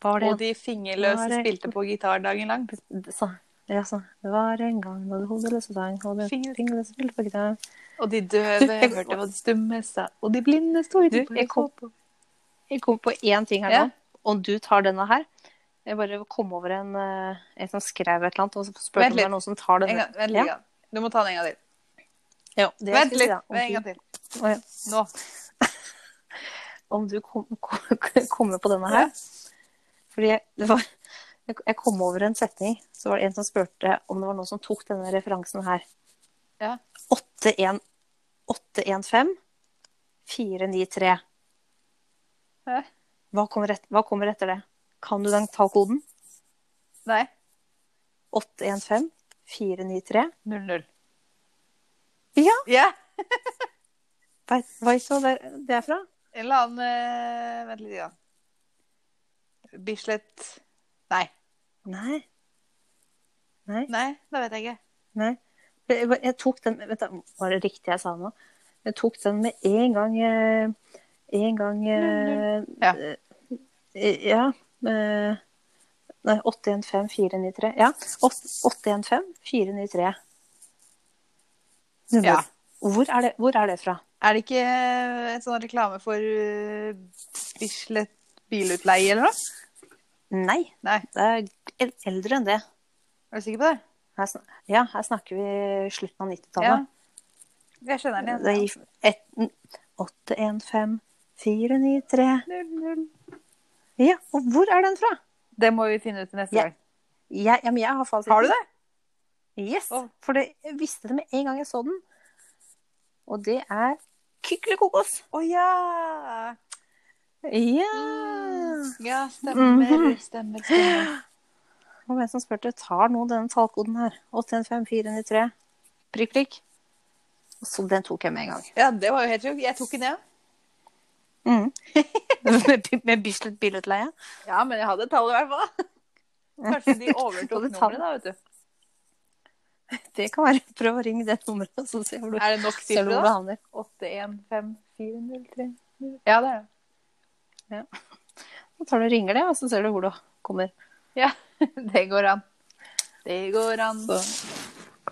[SPEAKER 1] hva var det
[SPEAKER 2] Og de
[SPEAKER 1] Nå
[SPEAKER 2] fingerløse
[SPEAKER 1] er det-
[SPEAKER 2] spilte på gitar dagen lang.
[SPEAKER 1] igjen? Sa- Ja, sånn. Det var en gang da du hodeløse sang, og du
[SPEAKER 2] Fingre-
[SPEAKER 1] fingerløse ville på gitar.
[SPEAKER 2] Og de
[SPEAKER 1] Du,
[SPEAKER 2] døve
[SPEAKER 1] jeg-
[SPEAKER 2] hørte hva de stumme sa, og de blinde sto
[SPEAKER 1] Du,
[SPEAKER 2] utenfor
[SPEAKER 1] jeg
[SPEAKER 2] og
[SPEAKER 1] kom-
[SPEAKER 2] så på.
[SPEAKER 1] Jeg kom på én ting her
[SPEAKER 2] Ja.
[SPEAKER 1] nå, og du tar denne her. Jeg bare kom over en, eh, en som skrev et eller annet, og så spurte
[SPEAKER 2] Vent
[SPEAKER 1] om det
[SPEAKER 2] litt.
[SPEAKER 1] er noen som tar
[SPEAKER 2] En
[SPEAKER 1] denne.
[SPEAKER 2] gang, vent litt.
[SPEAKER 1] Ja.
[SPEAKER 2] grann. Du må ta den en gang til.
[SPEAKER 1] Ja, det
[SPEAKER 2] Vent
[SPEAKER 1] skal
[SPEAKER 2] litt.
[SPEAKER 1] jeg si,
[SPEAKER 2] En
[SPEAKER 1] ja.
[SPEAKER 2] gang til.
[SPEAKER 1] Om du- å, ja.
[SPEAKER 2] Nå.
[SPEAKER 1] Om du kom- kom- kommer på denne her. Fordi jeg, det var, jeg- jeg kom over en setning, så var det en som spurte om det var noen som tok denne referansen her.
[SPEAKER 2] Ja.
[SPEAKER 1] 8-1 815 493.
[SPEAKER 2] Hæ?
[SPEAKER 1] Hva kommer, et, hva kommer etter det? Kan du den tallkoden?
[SPEAKER 2] Nei.
[SPEAKER 1] 815 493.
[SPEAKER 2] 0-0.
[SPEAKER 1] Ja.
[SPEAKER 2] Ja.
[SPEAKER 1] Veit veit du hva det, det er fra?
[SPEAKER 2] En eller annen eh, Vent litt. grann. Bislett Nei.
[SPEAKER 1] Nei. Nei.
[SPEAKER 2] Nei, det vet jeg ikke.
[SPEAKER 1] Nei. Jeg, jeg- jeg tok den Vent, da, var det riktig jeg sa nå? Jeg tok den med en gang eh, En gang eh,
[SPEAKER 2] Ja.
[SPEAKER 1] eh, ja eh, Nei, 815493. Ja. åt- 815493. Nummer.
[SPEAKER 2] Ja.
[SPEAKER 1] Hvor, er det, hvor er det fra?
[SPEAKER 2] Er det ikke en sånn reklame for eh, Bislett bilutleie eller noe?
[SPEAKER 1] Nei,
[SPEAKER 2] Nei.
[SPEAKER 1] det er el- eldre enn det.
[SPEAKER 2] Er du sikker på det?
[SPEAKER 1] Her, sn- ja, her snakker vi slutten av 90-tallet.
[SPEAKER 2] Jeg skjønner den.
[SPEAKER 1] Det gir et- 815-493 Ja, og hvor er den fra?
[SPEAKER 2] Det må vi finne ut til neste
[SPEAKER 1] Ja.
[SPEAKER 2] gang.
[SPEAKER 1] Jeg, ja, men jeg har fasiten.
[SPEAKER 2] Har du det?
[SPEAKER 1] Yes,
[SPEAKER 2] Å.
[SPEAKER 1] for det, jeg visste det med en gang jeg så den. Og det er Kykelikokos.
[SPEAKER 2] Å ja!
[SPEAKER 1] Ja!
[SPEAKER 2] Ja,
[SPEAKER 1] Mhm.
[SPEAKER 2] Stemmer. stemmer.
[SPEAKER 1] Og hvem som spurte, tar nå denne tallkoden her. 815493. Prikk, prikk. Og Så den tok jeg med en gang.
[SPEAKER 2] Ja, det var jo helt sjukt. Jeg tok den, jeg. Mm.
[SPEAKER 1] med med Bislett bilutleie.
[SPEAKER 2] Ja, men jeg hadde tallet i hvert fall. Kanskje de overtok
[SPEAKER 1] Hadde tallet.
[SPEAKER 2] nummeret, da, vet du.
[SPEAKER 1] Det kan være. Prøv å ringe det nummeret, og så se hvor du,
[SPEAKER 2] Er det nok
[SPEAKER 1] se hvor
[SPEAKER 2] siffre,
[SPEAKER 1] du
[SPEAKER 2] da?
[SPEAKER 1] havner.
[SPEAKER 2] 815403 Ja, det er det.
[SPEAKER 1] Så tar du og ringer det, og så ser du hvor du kommer.
[SPEAKER 2] Ja, det går an. Det går an.
[SPEAKER 1] Så.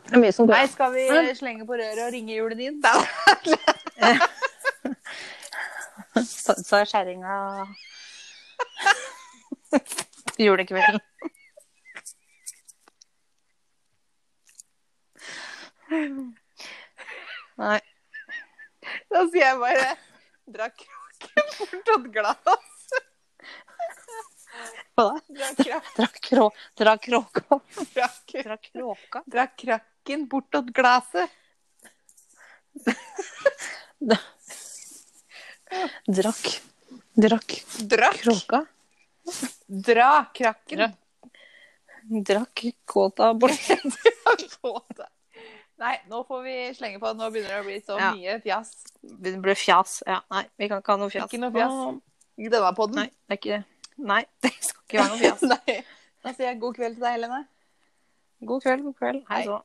[SPEAKER 1] Det er mye som
[SPEAKER 2] Nei,
[SPEAKER 1] går.
[SPEAKER 2] skal vi
[SPEAKER 1] Mm.
[SPEAKER 2] slenge på røret og ringe julen din? Da.
[SPEAKER 1] Så, så er skjæringa Julekvelden. Nei.
[SPEAKER 2] Da sier jeg bare Dra kraken bort og et glass.
[SPEAKER 1] Hva da?
[SPEAKER 2] Dra, krak,
[SPEAKER 1] Dra, krå, dra kråka.
[SPEAKER 2] dra, krak-
[SPEAKER 1] Dra kråka?
[SPEAKER 2] dra krakken bort og et glasset.
[SPEAKER 1] Drakk. Drakk
[SPEAKER 2] Drakk.
[SPEAKER 1] kråka.
[SPEAKER 2] Dra krakken.
[SPEAKER 1] Dra. Drakk kåta bort.
[SPEAKER 2] Kåte. Nei, nå får vi slenge på. Nå begynner det å bli så
[SPEAKER 1] Ja.
[SPEAKER 2] mye fjas.
[SPEAKER 1] Det ble fjas. Ja, nei, vi kan ikke ha noe fjas.
[SPEAKER 2] Ikke noe fjas.
[SPEAKER 1] Nå-
[SPEAKER 2] I denne podden.
[SPEAKER 1] Nei, det er ikke Nei, det skal ikke være noe fjas.
[SPEAKER 2] Nei. Da sier jeg god kveld til deg, Helene.
[SPEAKER 1] God kveld, god kveld. Hei
[SPEAKER 2] Hei.
[SPEAKER 1] så.